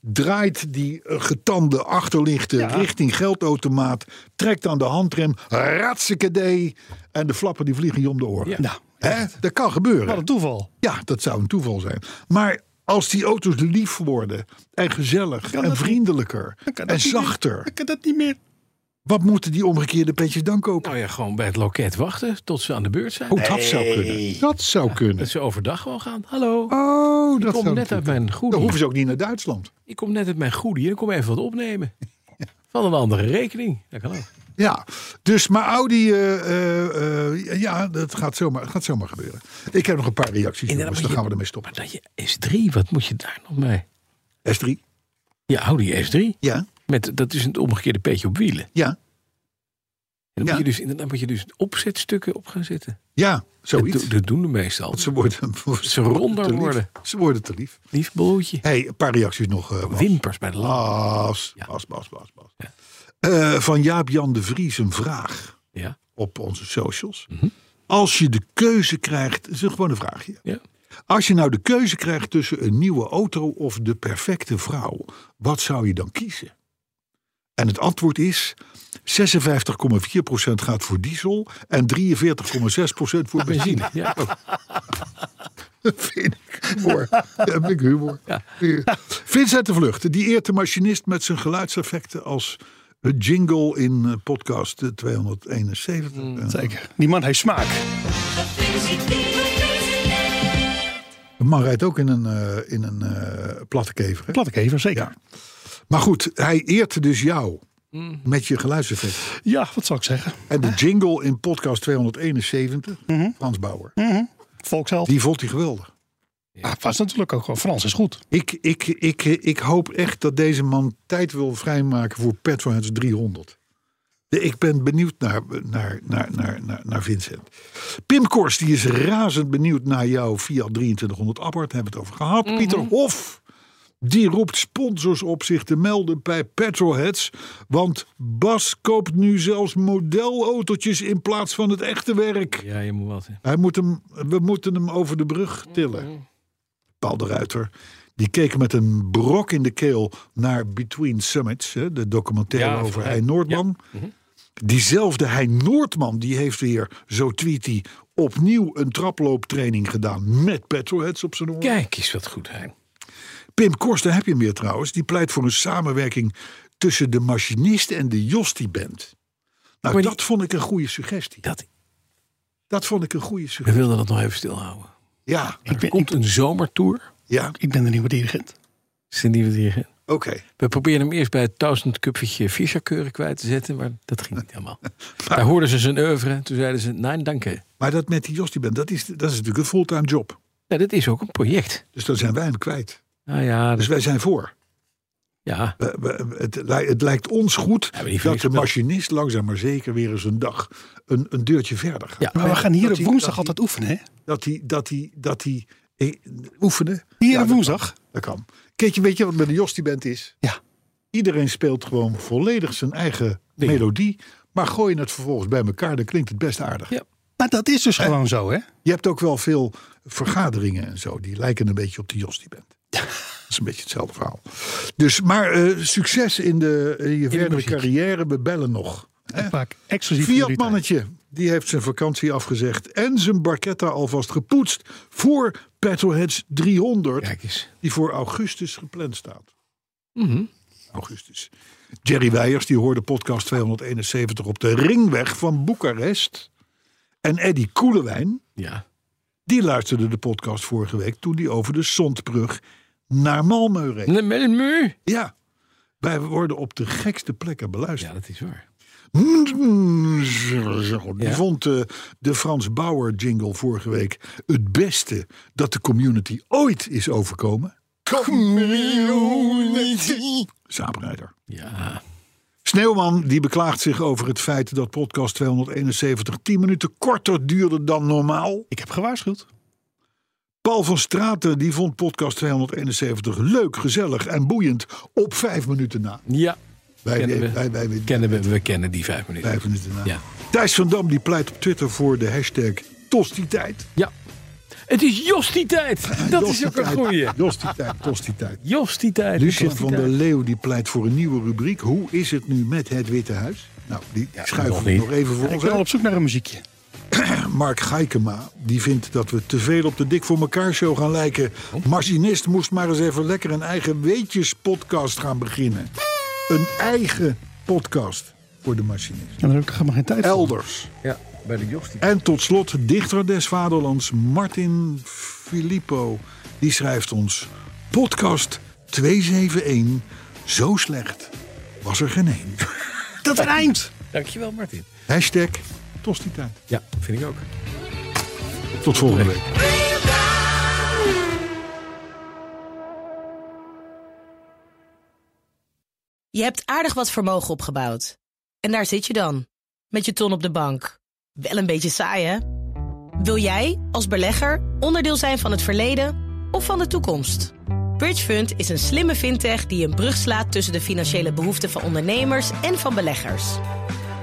S3: Draait die eh, getande achterlichten richting geldautomaat. Trekt aan de handrem. Ratsekadee. En de flappen die vliegen je om de oren.
S6: Nou,
S3: Hè? Dat kan gebeuren.
S6: wat een toeval.
S3: Ja, dat zou een toeval zijn. Maar als die auto's lief worden en gezellig
S6: Kan
S3: en
S6: dat-
S3: vriendelijker
S6: Dan kan dat
S3: en
S6: niet meer.
S3: zachter,
S6: Ik kan dat niet meer.
S3: wat moeten die omgekeerde petjes dan kopen?
S2: Nou ja, gewoon bij het loket wachten tot ze aan de beurt zijn.
S3: Oh, dat zou kunnen. Dat zou kunnen.
S2: Dat ze overdag gewoon gaan. Hallo,
S3: Oh,
S2: ik
S3: dat
S2: kom
S3: zou
S2: net uit
S3: kunnen.
S2: mijn
S3: Dan
S2: goedie.
S3: hoeven ze ook niet naar Duitsland.
S2: Ik kom net uit mijn goedie en ik kom even wat opnemen. Van een andere rekening. Dat kan ook.
S3: Ja, dus maar Audi, eh, eh, eh, ja, dat gaat zomaar, het gaat zomaar gebeuren. Ik heb nog een paar reacties,
S2: Inderdaad,
S3: jongens,
S2: maar
S3: dan
S2: je-
S3: gaan we ermee stoppen.
S2: Maar dat je S3, wat moet je daar nog mee?
S3: S3?
S2: Ja, Audi S3.
S3: Ja,
S2: Met, dat is een omgekeerde peetje op wielen.
S3: ja,
S2: En dan
S3: Ja.
S2: moet je dus, inderdaad moet je dus opzetstukken op gaan zitten.
S3: ja,
S2: Dat,
S3: zoiets.
S2: do- dat doen de meestal.
S3: Ze worden,
S2: Ze ronder
S3: te lief.
S2: worden.
S3: Ze worden te lief.
S2: Lief blootje.
S3: hey, een paar reacties nog. eh, Bas.
S2: Wimpers bij de lamp.
S3: Bas,
S2: Ja.
S3: Bas, Bas, Bas, Bas.
S2: Ja.
S3: Eh, van Jaap-Jan de Vries een vraag
S2: Ja.
S3: op onze socials. Als je de keuze krijgt, is een gewoon een vraagje.
S2: ja.
S3: Als je nou de keuze krijgt tussen een nieuwe auto of de perfecte vrouw, wat zou je dan kiezen? En het antwoord is 56,4% gaat voor diesel en 43,6% voor benzine. Oh.
S2: Ja.
S3: Dat Nou, (laughs) vind ik humor. Ja, dat vind ik humor. Vincent de Vlucht, die eert de machinist met zijn geluidseffecten als een jingle in eh, podcast eh, 271. Eh,
S6: Zeker. Die man heeft smaak.
S3: De man rijdt ook in een, eh, in een eh, platte kever. hè?
S6: Plat ik even, zeker.
S3: Maar goed, hij eert dus jou met je geluidseffect.
S6: Ja. wat zou ik zeggen?
S3: En de jingle in podcast 271, Frans Bauer,
S6: Volksheld.
S3: die vond hij geweldig.
S6: Ah, was natuurlijk ook gewoon. Frans is goed.
S3: Ik, ik, ik, ik hoop echt dat deze man tijd wil vrijmaken voor Petroheads 300. De- Ik ben benieuwd naar, naar, naar, naar, naar, naar Vincent. Pim Kors, die is razend benieuwd naar jouw Fiat 2300 Abarth. Hebben we het over gehad. Pieter Hof, die roept sponsors op zich te melden bij Petrolheads. Want Bas koopt nu zelfs modelautootjes in plaats van het echte werk.
S2: ja, je moet wat. hè.
S3: Hij moet hem, we moeten hem over de brug
S2: Mhm.
S3: tillen. Paul de Ruiter. Die keek met een brok in de keel naar Between Summits. Hè, de documentaire
S2: Ja, Mhm.
S3: over
S2: van-
S3: Hein Noordman. Diezelfde Hein Noordman die heeft weer, zo tweet hij... opnieuw een traplooptraining gedaan met petrolheads op zijn oor.
S2: Kijk eens wat goed, Hein.
S3: Pim Kors, daar heb je hem weer trouwens. Die pleit voor een samenwerking tussen de machinist en de Jostie-band. Nou,
S2: Maar die-
S3: dat vond ik een goede suggestie.
S2: Dat,
S3: Dat vond ik een goede
S2: we
S3: suggestie.
S2: wilden dat nog even stilhouden.
S3: Ja,
S6: Ik
S2: Er
S6: ben,
S2: komt
S6: ik,
S2: een zomertour.
S3: ja,
S6: ik ben de nieuwe dirigent.
S2: Zijn die we hier.
S3: oké.
S2: We probeerden hem eerst bij het duizend cupje visserkeuren kwijt te zetten, maar dat ging niet
S3: (laughs)
S2: helemaal. Daar hoorden ze zijn oeuvre, toen zeiden ze, nee, dank je.
S3: Maar dat met die Jostie bent, dat is, dat is natuurlijk een fulltime job.
S2: Nou, dat is ook een project.
S3: Dus daar zijn wij hem kwijt.
S2: Nou ja,
S3: Dus
S2: dat,
S3: wij zijn voor.
S2: ja.
S3: We- we- het, lij- het lijkt ons goed
S2: maar die
S3: dat de
S2: verliest wel.
S3: machinist langzaam maar zeker weer eens een dag een, een deurtje verder gaat.
S2: Ja.
S6: Maar we gaan hier
S3: Dat
S6: op
S3: die-
S6: woensdag
S3: dat die-
S6: altijd oefenen, hè?
S3: Dat hij dat die, dat die, eh, oefenen.
S6: Hier
S3: Ja,
S6: op
S3: dat
S6: woensdag.
S3: kan. Dat kan. Keetje, weet je wat met de Jostie band is?
S6: Ja.
S3: Iedereen speelt gewoon volledig zijn eigen
S2: Ding.
S3: melodie. Maar gooi je het vervolgens bij elkaar, dan klinkt het best aardig.
S2: Ja.
S6: Maar dat is dus gewoon zo, hè?
S3: Je hebt ook wel veel vergaderingen en zo. Die lijken een beetje op de Jos die bent. Dat is een beetje hetzelfde verhaal. Dus, maar eh, succes in, de, in je verdere
S2: muziek.
S3: carrière. We bellen nog.
S6: Ik maak exclusief voor
S3: Fiat
S6: jullie
S3: mannetje. Die heeft zijn vakantie afgezegd. En zijn barquetta alvast gepoetst. Voor Petrolheads 300.
S2: Kijk eens.
S3: Die voor augustus gepland staat.
S2: Mhm.
S3: Augustus. Jerry Weijers die hoorde podcast 271 op de ringweg van Boekarest. En Eddy Koelewijn.
S2: Ja.
S3: Die luisterde de podcast vorige week toen die over de Zondbrug naar Malmö reed.
S2: Nee, Met een mu.
S3: Ja, wij worden op de gekste plekken
S2: Ja,
S3: beluisterd. Mm,
S2: dat is waar.
S3: Die
S2: Ja.
S3: vond eh, de Frans Bauer jingle vorige week het beste dat de community ooit is overkomen. Community. Saaprijder.
S2: Ja.
S3: Sneeuwman die beklaagt zich over het feit dat podcast 271 10 minuten korter duurde dan normaal.
S6: Ik heb gewaarschuwd.
S3: Paul van Straten die vond podcast 271 leuk, gezellig en boeiend op vijf minuten na.
S2: Ja.
S3: Wij-
S2: kennen we,
S3: wij- wij- wij-
S2: kennen we, we kennen die vijf minuten.
S3: Vijf minuten na.
S2: Ja.
S3: Thijs van Dam die pleit op Twitter voor de hashtag Tostietijd.
S2: ja. Het is
S3: (laughs)
S2: Jostietijd. Dat is ook een
S3: Tostietijd,
S2: goeie.
S3: Tostietijd,
S2: (laughs)
S3: Tostietijd.
S2: Jostietijd.
S3: Lucien van der
S2: Jostietijd.
S3: Leeuw die pleit voor een nieuwe rubriek. Hoe is het nu met het Witte Huis? Nou, die schuiven
S2: nog
S3: we
S2: niet.
S3: nog even voor
S6: Ik
S3: ons
S6: ben al
S3: uit.
S6: op zoek naar een muziekje.
S3: Mark Gaikema die vindt dat we te veel op de Dik voor elkaar show gaan lijken. Machinist moest maar eens even lekker een eigen weetjespodcast gaan beginnen. Een eigen podcast voor de machinist.
S6: En daar heb ik helemaal geen tijd voor.
S3: Elders.
S2: Ja, bij de Jostietijd.
S3: En tot slot dichter des vaderlands Martin Filippo. Die schrijft ons podcast 271. Zo slecht was er geen (laughs) één.
S6: Dat een eind!
S2: Dankjewel, Martin.
S3: Hashtag Tostietijd.
S2: Ja, vind ik ook.
S3: Tot volgende week.
S7: Je hebt aardig wat vermogen opgebouwd. En daar zit je dan, met je ton op de bank. Wel een beetje saai, hè? Wil jij, als belegger, onderdeel zijn van het verleden of van de toekomst? Bridgefund is een slimme fintech die een brug slaat tussen de financiële behoeften van ondernemers en van beleggers.